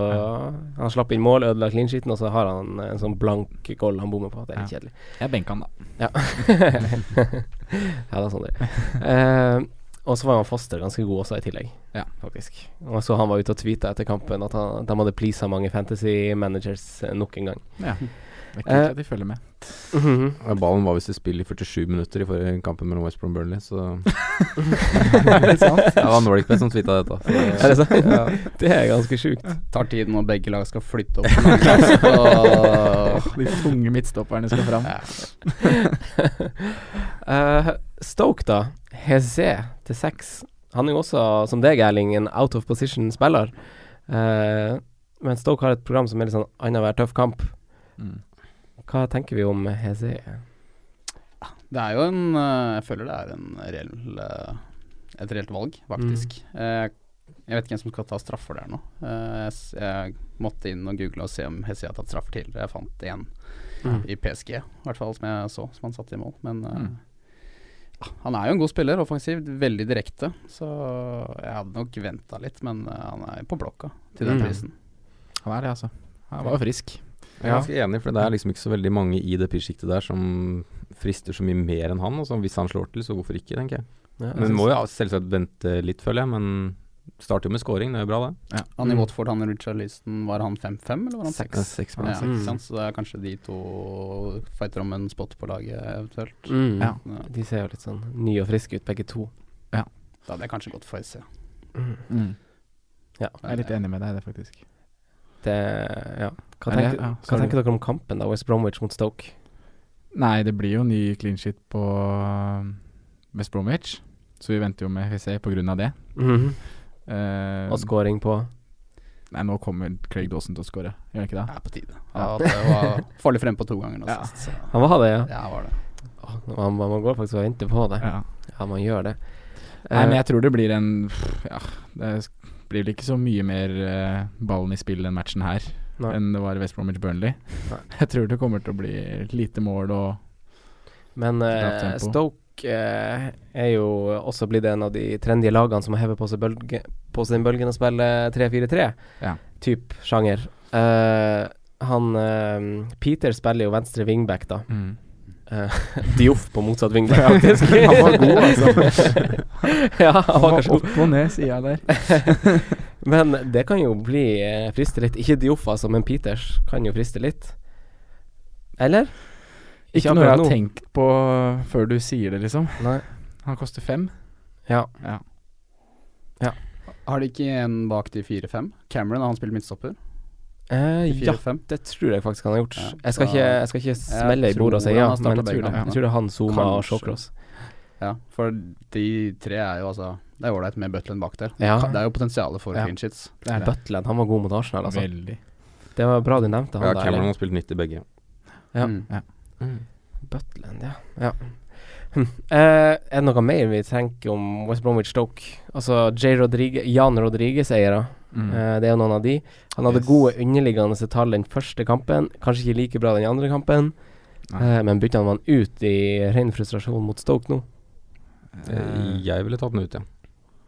Han slapp inn mål, ødela clean sheeten, og så har han eh, en sånn blank goal han bommer på. Det er litt
Ja.
kjedelig.
Jeg benka han, da.
Ja. ja, det er sånn det er. Eh, og så var han Foster ganske god også i tillegg,
Ja.
faktisk. Og så han var ute og tweeta etter kampen at han, de hadde pleasa mange fantasy managers eh, nok en gang.
Ja. Det er
Eh,
kult at de følger med. Mhm.
Ja, Ballen var visst i spill i 47 minutter i forrige kampen mellom West Brom og Burnley, så
er det sant?
Det var Nordic Best som tweeta dette.
Er det sant?
Ja.
Det er ganske sjukt.
tar tid når begge lag skal flytte opp. på laget, og-
De tunge midtstopperne skal fram.
Ja.
Eh, Stoke, da. Heze til seks. Han er jo også, som deg, Erling, en out of position-spiller. Eh, men Stoke har et program som er litt sånn annenhver tøff kamp.
Mm.
Hva tenker vi om Heze?
Det er jo en eh, Jeg føler det er en reell eh, et reelt valg, faktisk. Eh, Jeg vet ikke hvem som skal ta straffer der nå. Eh, Jeg, s- jeg måtte inn og google og se om Hesse har tatt straffer tidligere. Jeg fant én
Mm.
i PSG, i hvert fall som jeg så, som han satte i mål. Men eh,
Mm.
ja, han er jo en god spiller, offensiv, veldig direkte. Så jeg hadde nok venta litt, men eh, han er på blokka til den
Mm.
prisen.
Han er det, altså. Han var jo frisk.
Jeg er ganske enig, for det er liksom ikke så veldig mange i det prissjiktet der som frister så mye mer enn han. Og så hvis han slår til, så hvorfor ikke, tenker jeg.
Ja,
Men må jo selvsagt vente litt, føler jeg. Men starter jo med scoring, det er jo bra, det.
Han i
Mm.
Watford, han Richard Liston, var han 5-5, eller var han 6?
Ja, seks
Ja,
poeng.
seks.
ikke sant? Så det er kanskje de to fighter om en spot på laget, eventuelt.
mm.
Ja.
Ja.
De ser jo litt sånn nye og friske ut, begge to.
Da hadde jeg kanskje gått for SC.
Mm.
Ja.
Jeg er litt enig med deg i det, faktisk.
Det, ja. Hva,
Er det-
tenker,
ja,
hva
sorry.
tenker dere om kampen, da? West Bromwich mot Stoke?
Nei, det blir jo ny clean shit på um, West Bromwich, Mm. så vi venter jo med FSA på grunn av det.
Mhm.
Eh,
Og scoring på
Nei, nå kommer Craig Dawson til å skåre, gjør han ikke det?
Det er på tide. Ja, det var farlig frempå to ganger nå
Ja.
sist. Så.
Han var det, ja.
Ja, var det.
Åh, Man, man går faktisk og venter på det.
Ja.
Ja, man gjør det.
Nei, men
Eh,
jeg tror det blir en pff, Ja, det blir vel ikke så mye mer eh, ballen i spill enn matchen her
Nei.
enn det var i West Bromwich Burnley.
Nei.
Jeg tror det kommer til å bli lite mål og
Men
Lavt
eh,
tempo.
Stoke eh, er jo også blitt en av de trendy lagene som har hevet på seg, bølge, på seg den bølgen og spiller 3-4-3.
Ja.
Typ sjanger. Eh, han eh, Peter spiller jo venstre wingback, da. Eh, Dioff på motsatt wingback,
Ja,
faktisk.
han var god,
altså. ja, han var kanskje god.
opp og ned, sier jeg der.
Men det kan jo bli eh, friste litt. Ikke Dioff, altså, men Peters kan jo friste litt. Eller?
Ikke noe jeg har
akkurat nå.
tenkt på før du sier det, liksom.
Nei.
Han koster fem.
Ja.
Ja.
Har de ikke en bak de fire-fem? Cameron, han spiller midtstopper.
Eh,
De
ja,
fire-fem.
Det tror jeg faktisk han har gjort.
Ja,
jeg, skal
så-
ikke, jeg skal ikke smelle i
tror
bordet og si
han
ja,
har
men jeg
startet
tror,
begge
det.
da.
jeg tror det er han, Zuma og
Kanskje.
Shawcross.
Ja, for de tre er jo altså Det er ålreit med Butland bak der.
Ja.
Det er jo potensialet for
Ja.
clean sheets.
Det er det.
Butland, han var god mot Arsenal, altså.
Veldig.
Det var bra du nevnte han
Ja,
der.
Cameron har spilt nytt i begge.
Ja.
Mm.
Butland, ja. ja. Hm. Eh, er det noe mer vi tenker om West Bromwich Stoke? Altså J. Rodrige, Jan Rodriguez-eiere.
Mm.
Eh, det er jo noen av de. Han hadde
Yes.
gode underliggende tall den første kampen, kanskje ikke like bra den andre kampen.
Nei.
Eh, men bytta han han ut i ren frustrasjon mot Stoke nå?
Eh, Jeg ville tatt den ut, ja.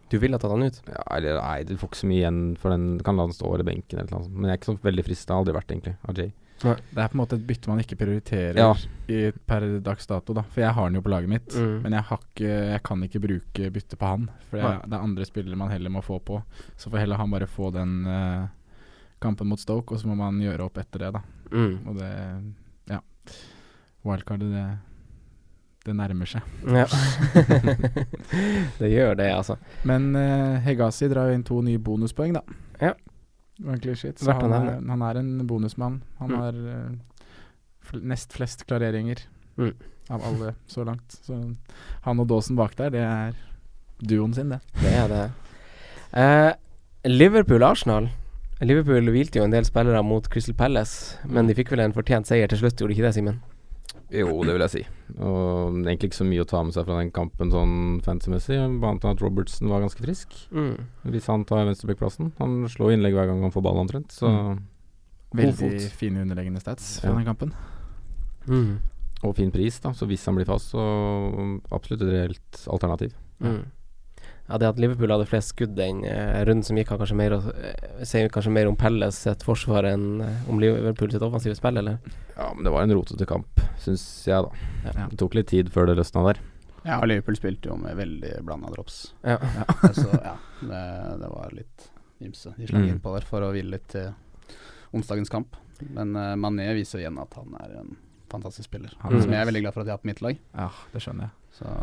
Du ville tatt han ut?
ja. Eller nei, du får ikke så mye igjen for den. Kan la den stå over i benken eller noe sånt. Men jeg er ikke så veldig frista. Har aldri vært, egentlig, av Jay.
Det er på en måte et bytte man ikke prioriterer
Ja.
i, per dags dato, da. For jeg har den jo på laget mitt.
Mm.
Men jeg, har ikke, jeg kan ikke bruke bytte på han. For jeg, det er andre spillere man heller må få på. Så får heller han bare få den eh, kampen mot Stoke, og så må man gjøre opp etter det, da.
Mm.
Og det Ja. Wildcardet, det, det nærmer seg.
Ja. det gjør det, altså.
Men eh, Hegazi drar jo inn to nye bonuspoeng, da.
Ja.
Det var egentlig shit. Så
Verdt å
han er, han er en bonusmann. Han
Mm.
har eh, fl nest flest klareringer
Mm.
av alle så langt. Så han og Dawson bak der, det er duoen sin, det.
Det er det. Eh, Liverpool-Arsenal. Liverpool hvilte jo en del spillere mot Crystal Palace, men de fikk vel en fortjent seier til slutt, gjorde de ikke det, Simen?
Jo, det vil jeg si. Og egentlig ikke så mye å ta med seg fra den kampen sånn fancy-messig. Bare annet enn at Robertson var ganske frisk. Hvis han tar venstrebackplassen. Han slår innlegg hver gang han får ball, omtrent. Så
Mm. God
Veldig
fot.
fine underleggende stats fra
Ja.
den kampen.
Mm.
Og fin pris, da. Så hvis han blir fast, så absolutt et reelt alternativ.
Mm. Ja, det at Liverpool hadde flest skudd den eh, runden som gikk, har kanskje mer å eh, sier kanskje mer om Pelles sitt forsvar enn eh, om Liverpool sitt offensive spill, eller?
Ja, men det var en rotete kamp, syns jeg, da.
Ja.
Det tok litt tid før det løsna der.
Ja, og Liverpool spilte jo med veldig blanda drops.
Ja.
Så ja, det, det var litt ymse de slang
Mm.
innpå der for å hvile litt til onsdagens kamp. Men eh, Mané viser igjen at han er en fantastisk spiller.
Han,
Som jeg er veldig glad for at jeg har på mitt lag.
Ja, det skjønner jeg.
Så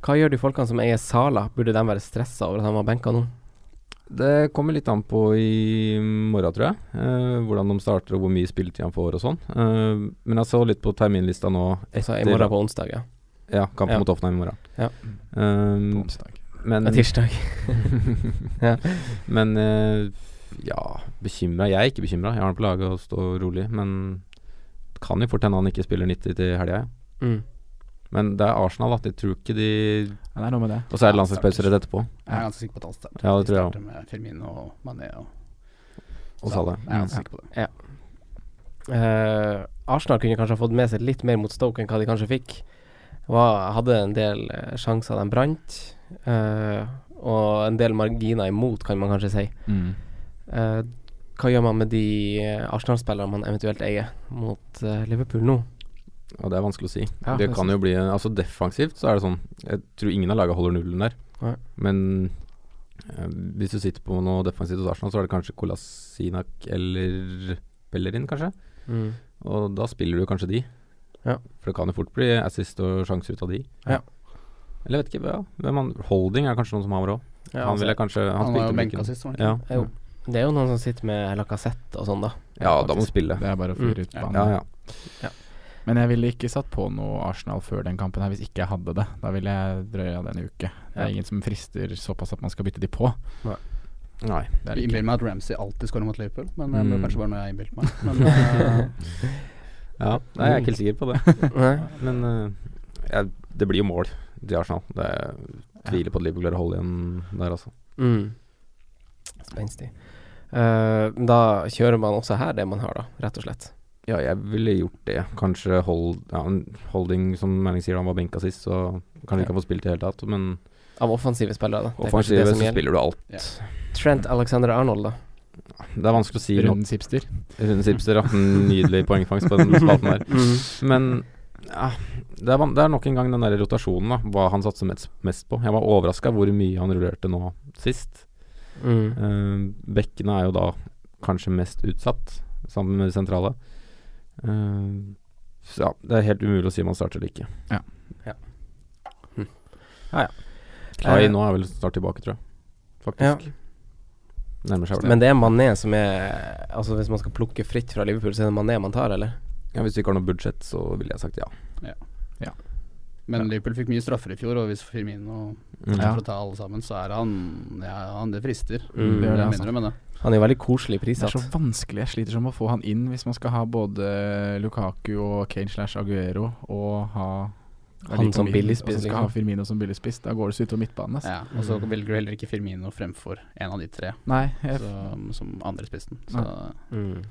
Hva gjør de folkene som eier Sala? Burde de være stressa over at han var benka nå?
Det kommer litt an på i morgen, tror jeg. Eh, hvordan de starter og hvor mye spilletid han får og sånn. Eh, men jeg så litt på terminlista nå
Altså i
etter-
morgen på onsdag, ja.
Ja, kampen
Ja.
mot Hoffenheim i morgen.
Ja.
På
Um,
onsdag.
men
Det er tirsdag.
men eh, ja, bekymra Jeg er ikke bekymra. Jeg har han på laget og står rolig. Men det kan jo fort hende han ikke spiller 90 til helga. ja.
Mm.
Men det er Arsenal, at jeg tror ikke de
Ja, det er noe med det.
Og så er det
Ja,
landslagspause rett etterpå.
jeg er ganske sikker på at han starter.
Ja, det
De
tror jeg
starter Med Firmino og Mané og
Og Salah. Mm.
Jeg er ganske sikker på det.
Eh, Arsenal kunne kanskje ha fått med seg litt mer mot Stoke enn hva de kanskje fikk. Var, hadde en del eh, sjanser de brant, eh, og en del marginer imot, kan man kanskje si.
Mm.
Eh, hva gjør man med de eh, Arsenal-spillerne man eventuelt eier mot eh, Liverpool nå?
Ja, det er vanskelig å si.
Ja,
det
jeg
kan jo bli Altså Defensivt så er det sånn Jeg tror ingen av lagene holder nullen der.
Nei.
Men eh, hvis du sitter på noe defensivt hos Arsenal, så er det kanskje Kolasinak eller Bellerin, kanskje.
Mm.
Og da spiller du kanskje de.
Ja.
For det kan jo fort bli assist og sjanser ut av de.
Ja.
Eller jeg vet ikke ja, hvem han Holding er kanskje noen som har råd.
Ja,
han
altså,
ville kanskje Han,
Han var
spilte
jo
vel
benka
ikke-
sist, var han
Ja.
ikke?
Jo. Det er jo noen som sitter med Lacassette og sånn, da.
ja, da må du spille.
Det er bare å fyre ut
Mm.
Ja.
banen.
Ja, ja.
Men jeg ville ikke satt på noe Arsenal før den kampen her hvis ikke jeg hadde det. Da ville jeg drøya den en uke. Det
Ja.
er ingen som frister såpass at man skal bytte de på.
Nei.
Nei.
Det er
Jeg
det ikke.
innbiller meg at Ramsey alltid skårer mot Liverpool, men det blir
Mm.
kanskje bare noe jeg har innbilt meg. Men, eh,
Ja, nei, jeg er ikke helt sikker på det.
Nei.
Men eh, ja, det blir jo mål til Arsenal. Det er, tviler på at Liverpool klarer å holde igjen der, altså.
Mm. Spenstig. Eh, da kjører man også her det man har, da, rett og slett.
Ja, jeg ville gjort det. Kanskje hold, ja, en holding, som Manning sier, han var benka sist, så kanskje ikke han får spilt i det hele tatt. Men
Av offensive spillere, da. Det er kanskje det
offensivt
som
så
gjelder.
spiller du alt.
Trent Alexander Arnold, da.
Det er vanskelig å si noe.
Rundens hipster.
Rune Sipster hatt en nydelig poengfangst på den spalten der.
Mm.
Men ja, det, er, van- det er nok en gang den der rotasjonen, da. Hva han satser mest, mest på. Jeg var overraska hvor mye han rullerte nå sist.
Mm.
Eh, bekkene er jo da kanskje mest utsatt, sammen med de sentrale. Eh, så ja, det er helt umulig å si om han starter eller ikke.
Ja.
Ja.
Hm.
Ja, ja.
Klai
Eh,
nå er vel snart tilbake, tror jeg. Faktisk. Nærmer seg vel det.
Men det er Mané som er Altså Hvis man skal plukke fritt fra Liverpool, så er det Mané man tar, eller?
ja, hvis du ikke har noe budsjett, så ville jeg sagt ja.
men Liverpool fikk mye straffer i fjor, og hvis Firmino
Mm.
Ja.
for å ta alle sammen, så er han Ja, han det frister.
Mm.
Det er
Det
det,
jeg
altså.
mener du med det.
Han er jo veldig koselig
Det er
prissatt.
så vanskelig. Jeg sliter som å få han inn hvis man skal ha både Lukaku og Kane slash Aguero og ha
Han som billigspiss,
Og så skal
liksom.
ha Firmino som billigspiss. Da går det så utover midtbanen. altså. ass.
Ja, og så
Mm.
velger du heller ikke Firmino fremfor en av de tre
Nei, jeg,
så, som andre spissen. Så
Mm.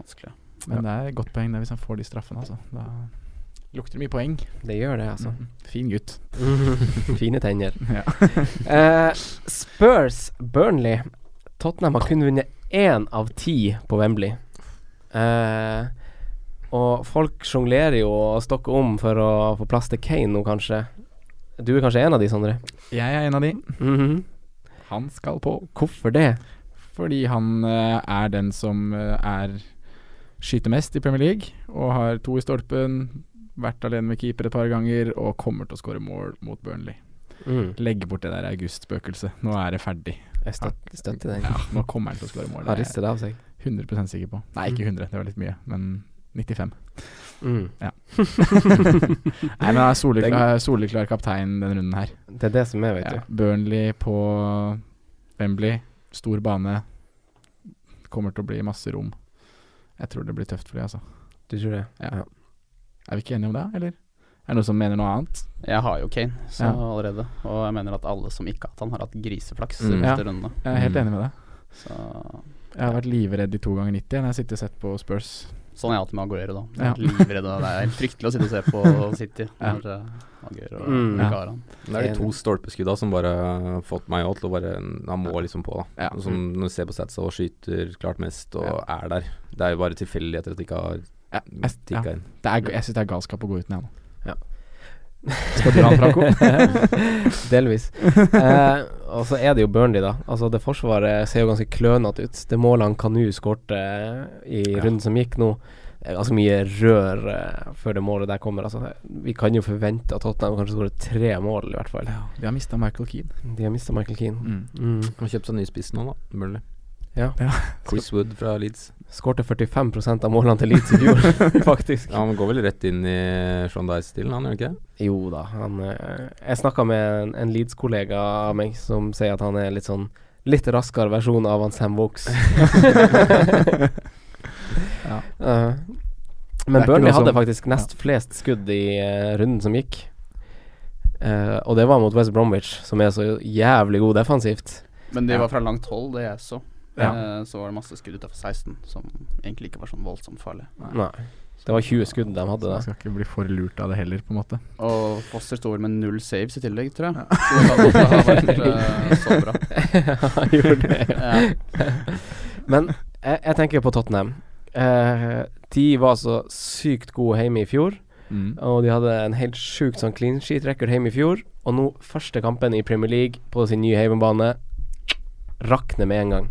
vanskelig.
men det er et godt poeng det hvis han får de straffene, altså. Da lukter det mye poeng.
Det gjør det, altså.
Mhm. Fin gutt. Mm.
Fine tenner.
Ja.
Eh, Spurs Burnley. Tottenham har kun vunnet én av ti på Wembley. Eh, og folk sjonglerer jo og stokker om for å få plass til Kane nå, kanskje. Du er kanskje en av de, Sondre?
Jeg er en av de. Mhm. Han skal på.
Hvorfor det?
Fordi han eh, er den som eh, er skyter mest i Premier League, og har to i stolpen, vært alene med keeper et par ganger, og kommer til å skåre mål mot Burnley. Legge bort det der august-spøkelset. Nå er det ferdig.
Mm. Jeg støt, støtter den.
Ja, nå kommer han til å skåre mål.
Han
Det er
rister det av seg.
jeg 100 sikker på. Nei, ikke 100, det var litt mye, men 95.
Mm.
Nei, men han er soleklar, soleklar kaptein denne runden her.
Det er det som er, vet
Ja. Burnley på Wembley, stor bane. Kommer til å bli masse rom. Jeg tror det blir tøft for de, altså.
du. Du tror det?
Ja. Er vi ikke enige om det, eller? Er det noen som mener noe annet?
Jeg har jo Kane så
Ja.
allerede, og jeg mener at alle som ikke har hatt han, har hatt griseflaks
Mm.
de
Ja.
første rundene.
Jeg er helt
Mm.
enig med deg.
Så
Jeg har vært livredd i to ganger 90 når jeg har sittet og sett på Spurs.
sånn er jeg alltid med Aguero, da. Jeg
Ja.
er livredd, og det er helt fryktelig å sitte og se på City når eh, Aguero
Mm.
ikke har han.
Det er de to stolpeskudda som bare har fått meg òg til å bare Han må liksom på, da.
Ja.
Som
Mm.
når du ser på Satsa og skyter klart mest og er der. Det er jo bare tilfeldigheter at de ikke har
Ja,
Mm.
jeg ja.
tikka inn.
det er, jeg syns det er galskap å gå uten henne.
Skal du ha en Franco? Delvis. Eh, og så er det jo Burnley, da. Altså Det forsvaret ser jo ganske klønete ut. Det målet han Kanu skårte i runden som gikk nå det er Ganske mye rør eh, før det målet der kommer. Altså Vi kan jo forvente at Tottenham kanskje skårer tre mål, i hvert fall.
De har mista Michael Keane.
De har mista Michael Keane. Mm.
Har kjøpt seg ny spiss nå, da. Burnley.
Ja.
Ja.
Chris Wood fra Leeds.
Skårte 45 av målene til Leeds i fjor, faktisk.
Ja, Han går vel rett inn i Sean Dice-stilen, han gjør han ikke det?
Jo da, han eh, Jeg snakka med en, en Leeds-kollega av meg som sier at han er litt sånn Litt raskere versjon av han Sam Vokes. Eh,
Det er
men
ikke
Burnley
noe som-
hadde faktisk nest flest skudd i eh, runden som gikk. Eh, og det var mot West Bromwich, som er så jævlig god defensivt.
Men de
Ja.
var fra langt hold, det jeg så.
Ja.
Eh, Så var det masse skudd utafor 16, som egentlig ikke var sånn voldsomt farlig.
Nei. Det var 20 skudd de
Så
hadde da.
jeg skal ikke bli for lurt av det heller, på en måte.
Og Foster sto vel med null saves i tillegg, tror jeg. Så det kan også ha vært eh, så bra.
Han gjorde det. ja.
Ja.
Men jeg, jeg tenker på Tottenham. Eh, de var så sykt gode hjemme i fjor.
Mm.
Og de hadde en helt sjukt sånn clean sheet record hjemme i fjor. Og nå, første kampen i Premier League på sin nye heimbane, rakner med en gang.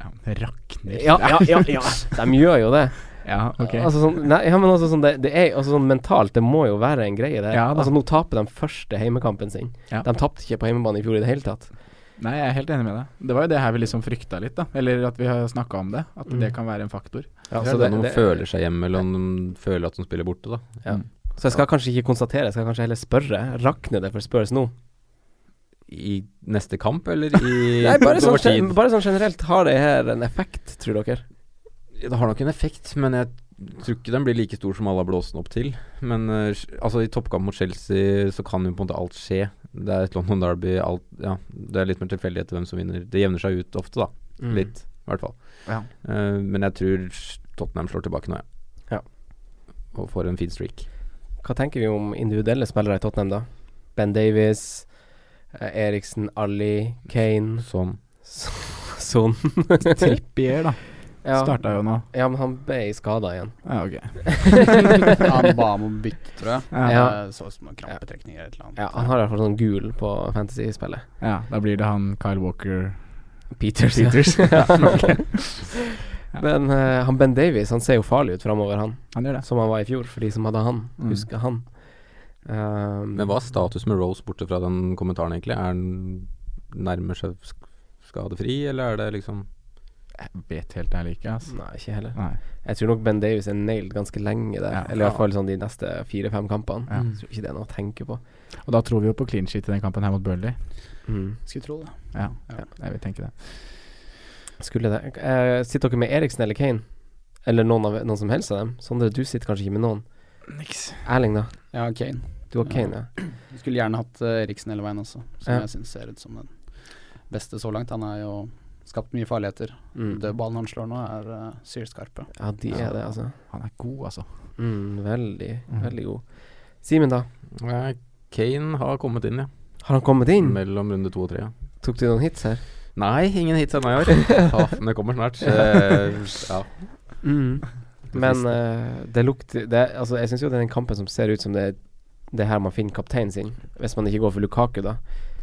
Ja, det rakner.
Ja, ja, ja, ja. De gjør jo det.
ja ok.
Altså sånn, nei, ja, men altså sånn det, det er altså sånn mentalt, det må jo være en greie, det.
Ja da.
altså Nå taper de første heimekampen sin.
Ja.
De tapte ikke på heimebane i fjor i det hele tatt.
Nei, jeg er helt enig med deg. Det var jo det her vi liksom frykta litt, da. Eller at vi har snakka om det. At
Mm.
det kan være en faktor.
Ja,
det er
så, Altså, det,
det, når man
det,
føler seg hjemme, eller om de føler at de spiller borte, da.
så jeg skal kanskje ikke konstatere, jeg skal kanskje heller spørre. Rakner det for Spurs nå?
i neste kamp, eller i
Nei, bare sånn,
over tid?
gen- bare sånn generelt, har det her en effekt, tror dere?
Det har nok en effekt, men jeg tror ikke den blir like stor som alle har blåst den opp til. Men eh, altså, i toppkamp mot Chelsea så kan jo på en måte alt skje. Det er et London Derby, alt Ja, det er litt mer tilfeldighet til hvem som vinner. Det jevner seg ut ofte, da.
Mm.
Litt, i hvert fall.
Ja.
Eh, men jeg tror Tottenham slår tilbake nå, jeg.
Ja.
Og får en fin streak.
Hva tenker vi om individuelle spillere i Tottenham, da? Ben Davies, eh, Eriksen, Ali, Kane,
Sånn.
Son
Trippier, da.
ja,
Starta jo nå.
ja, men han ble skada igjen.
Ja, ok.
Han ba om å bytte, tror jeg.
Ja.
Ja.
Ja.
Eh, Så ut som noen krampetrekninger eller et eller annet.
Ja, han har i hvert fall sånn gul på fantasy-spillet.
da blir det han Kyle Walker
Peters.
Peters.
ja.
Ok. Ja.
Men eh, han Ben Davies han ser jo farlig ut framover, han.
Han gjør det.
Som han var i fjor, for de som hadde han.
Mm.
Husker han. Um,
Men hva er status med Rose borte fra den kommentaren, egentlig? Er han nærmer seg sk- skadefri, eller er det liksom
Jeg vet helt ærlig ikke, altså.
Nei, ikke heller.
Nei.
Jeg tror nok Ben Davies er nailed ganske lenge der.
Ja.
Eller i hvert fall sånn de neste fire-fem kampene.
Ja.
Mm.
Jeg tror ikke det er noe å tenke på.
Og da tror vi jo på clean sheet i den kampen her mot Burnley.
Skulle tro det.
Ja,
Ja.
jeg vil tenke det.
Skulle det eh, Sitter dere med Eriksen eller Kane? Eller noen, av, noen som helst av dem? Sondre, du sitter kanskje ikke med noen.
Niks.
Erling, da?
Ja, Kane.
Du har
Ja.
Kane, ja.
Vi Skulle gjerne hatt eh, Eriksen hele veien også, som
Ja.
jeg syns ser ut som den beste så langt. Han har jo skapt mye farligheter.
Mm.
Dødballen han slår nå, er uh, sylskarpe.
Ja, de er det, altså.
Han er god, altså.
Mm, veldig,
Mm.
veldig god. Simen, da?
Nei, Kane har kommet inn, ja.
Har han kommet inn?
Mellom runde to og tre. Ja.
Tok du noen hits her?
Nei, ingen hits ennå i år. Faen, det kommer snart. Eh, ja.
Men eh, det lukter det, Altså, jeg syns jo det er den kampen som ser ut som det er det er her man finner kapteinen sin. Hvis man ikke går for Lukaku, da,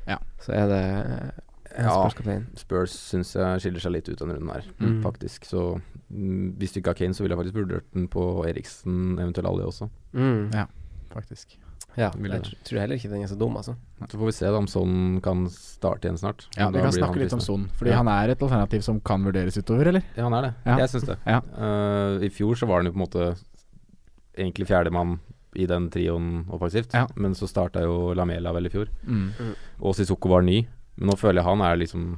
Ja.
så er det eh,
Ja.
Spurs kaptein.
Spurs syns jeg skiller seg litt ut denne runden her,
Mm.
faktisk. Så mm, hvis du ikke har Kane, så ville jeg faktisk vurdert den på Eriksen, eventuelt Ali også.
Mm.
Ja. faktisk.
Ja,
Vil
jeg
det.
tr- tror heller ikke den er så dum, altså.
Så får vi se da om sånn kan starte igjen snart.
Ja,
Da
Vi kan
blir han
snakke litt om
fristende.
Son, fordi
Ja.
han er et alternativ som kan vurderes utover, eller?
Ja, han er det.
Ja.
Jeg syns det.
Ja.
Eh, I fjor så var han jo på en måte egentlig fjerdemann i den trioen offensivt,
Ja.
men så starta jo Lamela vel i fjor. Og Sissoko var ny, men nå føler jeg han er liksom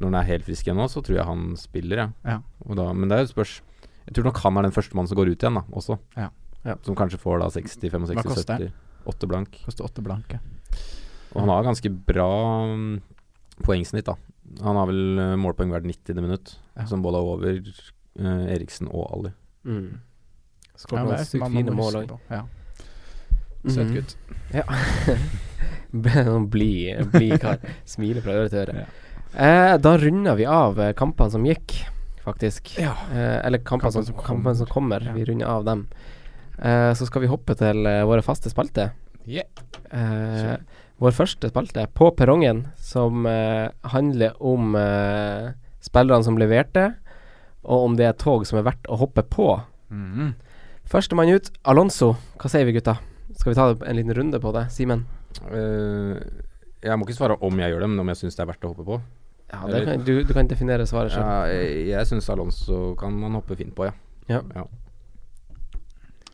Når han er helt frisk igjen nå, så tror jeg han spiller, jeg.
Ja.
Og da, men det er jo et spørs Jeg tror nok han er den første mannen som går ut igjen, da, også.
Ja.
Ja.
Som kanskje får da 60, 65,
Hva koster
70, 8 blank.
Koster åtte blanke.
Og han har ganske bra mm, poengsnitt, da. Han har vel eh, målpoeng hvert 90. minutt,
Ja.
som både er over eh, Eriksen og Ali.
Mm.
Ja,
Skåret
det er
noen sykt
man må
fine mål Mhm.
huske
òg.
på. Ja. Søt gutt.
Ja. Sånn blid blid kar. Smiler fra øre til øre.
Ja.
Eh, da runder vi av eh, kampene som gikk, faktisk.
Ja.
Eh, eller kampene som,
Kampene som kommer.
kampene som kommer.
Ja.
Vi runder av dem. Eh, så skal vi hoppe til eh, våre faste spalter.
Yeah.
Eh, vår første spalte, På perrongen, som eh, handler om eh, spillerne som leverte, og om det er tog som er verdt å hoppe på.
Mm.
Førstemann ut, Alonso. Hva sier vi, gutta? Skal vi ta en liten runde på det? Simen?
Eh, jeg må ikke svare om jeg gjør det, men om jeg syns det er verdt å hoppe på.
Ja, det kan, du, du kan definere svaret sjøl.
Ja, jeg jeg syns Alonso kan man hoppe fint på, ja.
Ja.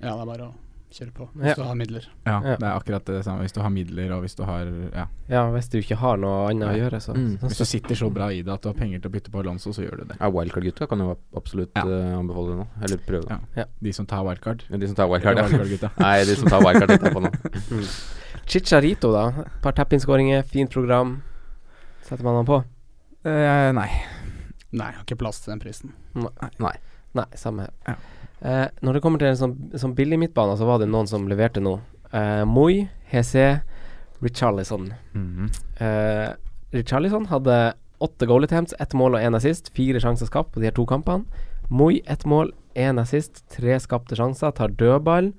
Ja, det er bare å kjøre på
Ja.
hvis du har midler.
Ja,
Ja.
det er akkurat det samme. Hvis du har midler, og hvis du har Ja.
Ja, hvis du ikke har noe annet å gjøre, så,
Mm.
så,
Hvis du sitter så bra i det at du har penger til å bytte på Alonso, så gjør du det.
Ja, Wildcard-gutta kan jo ab- absolutt
Ja.
eh, anbefale det nå. Eller prøve det.
Ja. De som tar wildcard.
Men De som tar
Eller
wildcard, ja.
gutta.
Nei, de som tar wildcard, tenkte jeg på nå.
Chicharito, da. Et par tappinskåringer, fint program. Setter man han på?
Eh, nei.
Nei, jeg har ikke plass til den prisen.
Nei, samme her.
Ja.
Eh, når det kommer til en sånn, sånn billig midtbane, så var det noen som leverte noe. Eh, Moi, Hese, Richarlison.
Mhm.
Eh, Richarlison hadde åtte goal attempts, ett mål og én assist. Fire sjanser skapt på de her to kampene. Moi ett mål, én assist, tre skapte sjanser, tar dødball.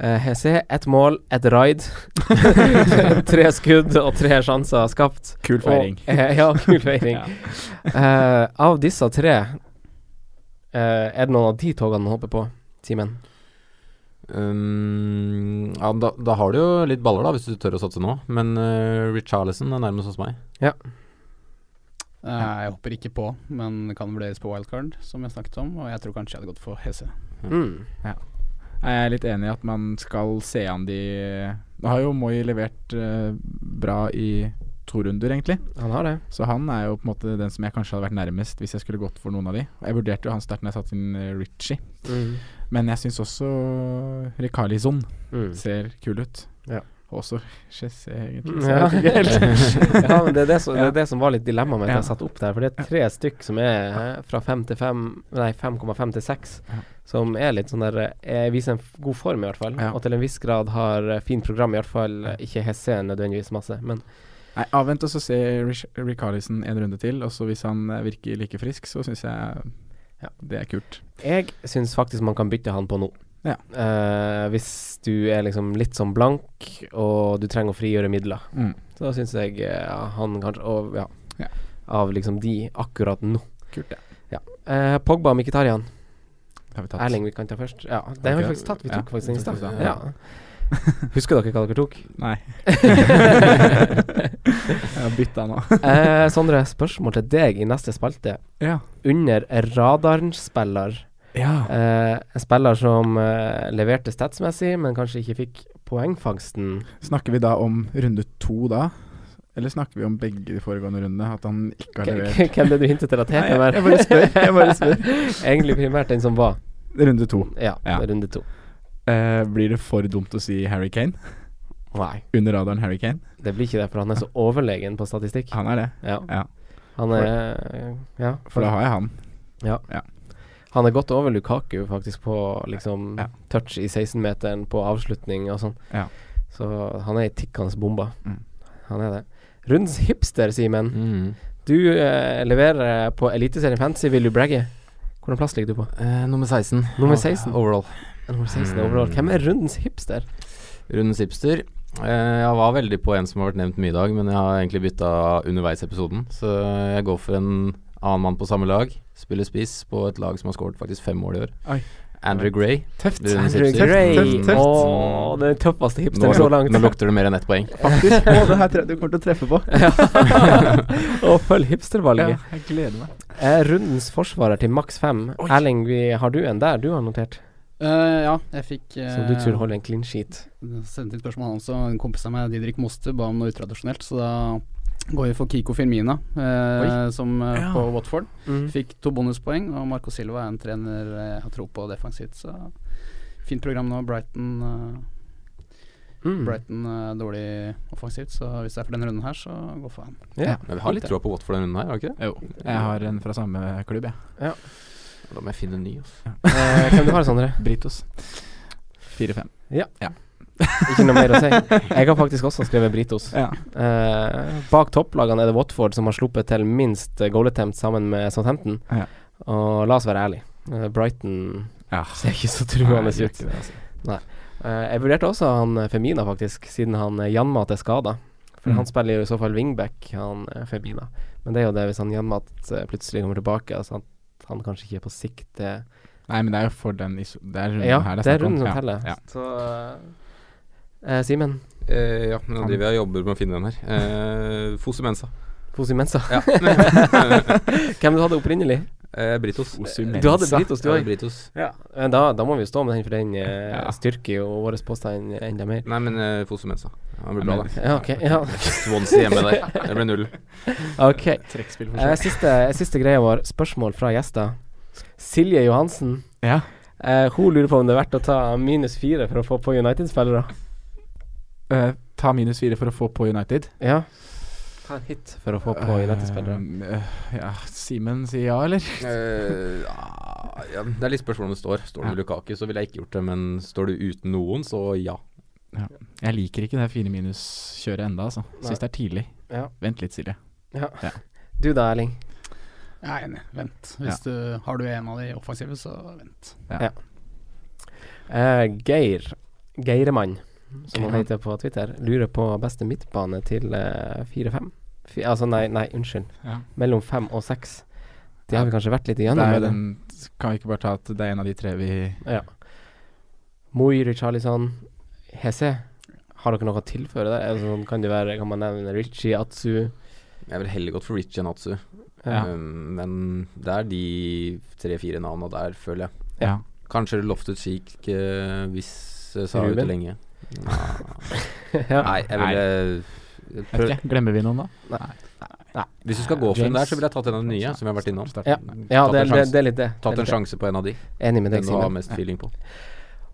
Eh, Hese ett mål, ett raid. tre skudd og tre sjanser skapt.
Kul feiring.
Og, eh, ja, kul feiring.
Ja.
Eh, av disse tre, eh, er det noen av de togene du hopper på, Simen?
Um, ja, da, da har du jo litt baller, da, hvis du tør å satse nå. Men uh, Richarlison er nærmest hos meg.
Eh, Jeg hopper ikke på, men det kan vurderes på wildcard, som jeg snakket om. Og jeg tror kanskje jeg hadde gått for Hese.
Mm.
Jeg er litt enig i at man skal se an de Nå har jo Moi levert eh, bra i to runder, egentlig.
Han har det.
Så han er jo på en måte den som jeg kanskje hadde vært nærmest hvis jeg skulle gått for noen av de. Og Jeg vurderte jo han sterkt når jeg satte inn eh, Ritchie,
Mm.
men jeg syns også Rekalison
Mm.
ser kul ut.
Ja.
Også Chessé, egentlig. Så
Ja.
jeg vet ikke helt.
ja, men det er det, som, det
Ja.
er det som var litt dilemmaet mitt
Ja.
jeg satte opp der. For det er tre stykk som er eh, fra 5 til 5 Nei, 5,5 til 6,
Ja.
som er litt sånn der eh, Viser en f- god form, i hvert fall.
Ja.
Og til en viss grad har eh, fint program, i hvert fall. eh, Ikke HC nødvendigvis masse, men
Nei, avvent og så se Ricarlison en runde til, og så hvis han eh, virker like frisk, så syns jeg
Ja.
det er kult.
jeg syns faktisk man kan bytte han på nå.
Ja.
Eh, hvis du er liksom litt sånn blank, og du trenger å frigjøre midler.
Mm.
Så da syns jeg eh, han kanskje og, ja,
Ja.
Av liksom de akkurat nå.
Kult, det.
Eh, Pogba og Mkhitaryan.
Det har vi tatt.
Erling vi kan ta først. Ja, det har
Ok.
vi faktisk tatt. Vi tok
Ja,
faktisk den i stad.
vi tok den.
Ja. Husker dere hva dere tok?
Nei, jeg har bytta nå.
eh, Sondre, spørsmål til deg i neste spalte.
ja.
Under radarens spiller,
ja.
eh, en spiller som eh, leverte statsmessig, men kanskje ikke fikk poengfangsten.
Snakker vi da om runde to da? Eller snakker vi om begge de foregående rundene? At han ikke har
K-
levert?
k- Hvem er det du hintet til at
Nei,
heter?
jeg bare spør, jeg bare spør.
Egentlig primært den som var.
Runde to.
Ja,
Ja.
runde to.
Eh, blir det for dumt å si Harry Kane?
Nei,
Under radaren Harry Kane?
det blir ikke det, for han er så overlegen på statistikk.
Han er det.
Ja.
Ja.
Han er Ja.
For da har jeg han.
Han er godt over Lukaku faktisk på liksom
Ja.
touch i 16-meteren, på avslutning og sånn.
Ja.
Så han er ei tikkende bombe.
Mm.
Han er det. Rundens hipster, Simen.
Mm.
Du eh, leverer på Eliteserien Fantasy, vil du bragge? Hvilken plass ligger du på?
Eh, nummer 16.
Nummer
Ah,
16.
Overall.
Nummer 16
Mm.
overall. Hvem er rundens hipster?
Rundens hipster. Eh, jeg var veldig på en som har vært nevnt mye i dag, men jeg har egentlig bytta underveis i episoden. Så jeg går for en annen mann på samme lag. Spiller spiss på et lag som har skåret faktisk fem mål i år.
Oi.
Andrew Gray.
Tøft.
Rundens
Andrew
hipster.
Gray.
tøft, tøft.
Åh, den tøffeste
Nå,
hipsteren så langt.
nå lukter det mer enn ett poeng.
Faktisk. Å, det her tre- du kommer til å treffe på.
Og følg hipstervalget.
jeg gleder meg.
Eh, Rundens forsvarer til maks fem.
Oi.
Erling, vi, har du en der du har notert?
Eh, ja, jeg fikk eh,
Som du tror holder en clean sheet?
sendte inn spørsmål han også. En kompis av meg, Didrik Moste, ba om noe utradisjonelt, så da går vi for Kiko Firmina eh, som eh,
Ja.
på Watford.
Mm.
Fikk to bonuspoeng, og Marco Silva er en trener eh, jeg har tro på defensivt, så fint program nå. Brighton eh,
Mm.
Brighton er dårlig offensivt, så hvis det er for denne runden her, så gå for han.
Ja.
Men vi har litt troa på Watford denne runden her, har vi ikke det?
Jo. Jeg har en fra samme klubb, jeg.
Da må jeg finne en ny. Altså.
Eh, hvem du har, Sondre?
Britos. Fire-fem.
Ikke noe mer å si. Jeg har faktisk også skrevet Britos.
Ja.
Eh, bak topplagene er det Watford som har sluppet til minst goal attempt sammen med Southampton.
Ja.
Og la oss være ærlig eh, Brighton
Ja.
ser ikke så
Nei,
truende
jeg gjør
ut.
ikke det, altså.
Eh, jeg vurderte også han eh, Femina, faktisk, siden han eh, Janmat er skada. For
Mm.
han spiller jo i så fall wingback, han eh, Femina. Men det er jo det hvis han Janmat eh, plutselig kommer tilbake, altså at han kanskje ikke er på sikt eh,
Nei, men det er jo for den iso... Det er runden
Ja,
Mm, her
det er
snakk om.
runden som
Ja,
teller.
Ja.
Så eh, Simen,
Eh, ja, men nå driver jeg og jobber med å finne den her. Eh, Fosu Mensa.
Fosi Mensa.
Ja.
Hvem du hadde opprinnelig?
eh, Britos.
Du hadde Britos, du
Ja,
òg.
Britos.
Eh, Da, da må vi jo stå med den, for den eh,
Ja. Mm.
styrker jo vår påstand enda mer.
Nei, men eh, Fosu Mensa. Han blir bra, da.
Ja, ok. Ja.
Swansea hjemme der. Det ble null.
Ok.
Trekkspill
Eh, siste, siste greia vår, spørsmål fra gjester. Silje Johansen.
Ja.
Eh, hun lurer på om det er verdt å ta minus fire for å få på United-spillere.
Eh, ta minus fire for å få på United.
Ja. Ta en hit for å få på United-spillere.
Eh, eh, ja, Simen sier ja, eller?
Eh, ja, ja, det er litt spørsmål om det står. Står det med Lukaku, så ville jeg ikke gjort det. Men står du uten noen, så ja.
Jeg liker ikke det fire minus-kjøret enda, altså.
Nei.
Syns det er tidlig.
Ja.
Vent litt, Silje.
Du da, Erling?
Jeg er enig, vent. Hvis du har du en av de offensive, så vent.
Eh, Geir Geiremann, som han
Geiremann.
heter på Twitter, lurer på beste midtbane til eh, 4-5. Fi- altså, nei, nei, unnskyld.
Ja.
Mellom 5 og 6. Det har vi kanskje vært litt
Det
igjennom.
er jo
eller?
den Kan vi ikke bare ta at det er en av de tre vi
Ja. Moi, Richarlison, Hese. Har dere noe å tilføre der? Altså, sånn, kan, det være, kan man nevne Richie, Atsu
Jeg ville heller gått for Rich enn Atsu.
Ja.
Um, men det er de tre-fire navna der, føler jeg.
Ja.
Kanskje Loftet Cheek hvis eh, Sa er
Ruben?
ute lenge. Ja.
ja.
Nei, jeg ville
Vet
prøv,
ikke, Glemmer vi noen da?
Hvis du skal gå for den
James.
der, så ville jeg tatt en av de nye, som vi har vært innom.
Start-
Ja. Ja, det, det, det er litt det.
Tatt en
Det er litt det.
sjanse på en av de.
Enig med deg,
Den du har
Simen.
mest feeling på.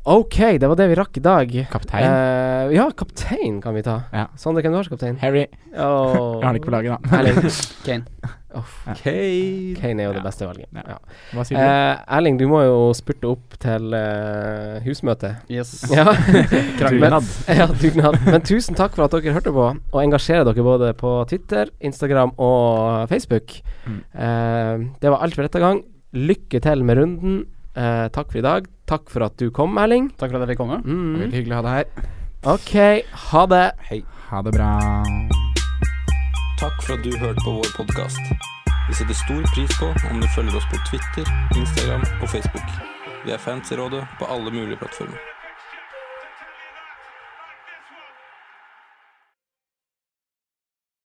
Ok, det var det vi rakk i dag.
Kaptein.
Eh, ja, kaptein kan vi ta.
Ja.
Sander, hvem du har som kaptein?
Harry.
Oh.
Jeg har det ikke på laget, da.
Erling.
Kane.
Uff,
Okay.
Kane er jo
Ja.
det beste valget.
Ja.
Ja.
Hva sier du?
Eh, Erling, du må jo spurte opp til eh, husmøtet.
Yes.
Ja.
Kranglad.
Men, ja, dugnad. Men tusen takk for at dere hørte på og engasjerer dere både på Twitter, Instagram og Facebook.
Mm.
Eh, det var alt for dette gang. Lykke til med runden. Eh, takk for i dag. Takk for at du kom, Erling.
Takk for at jeg fikk komme.
Mm.
Veldig hyggelig å ha deg her.
OK, ha det.
Hei.
Ha det bra.
Takk for at du hørte på vår podkast. Vi setter stor pris på om du følger oss på Twitter, Instagram og Facebook. Vi er fans i rådet på alle mulige plattformer.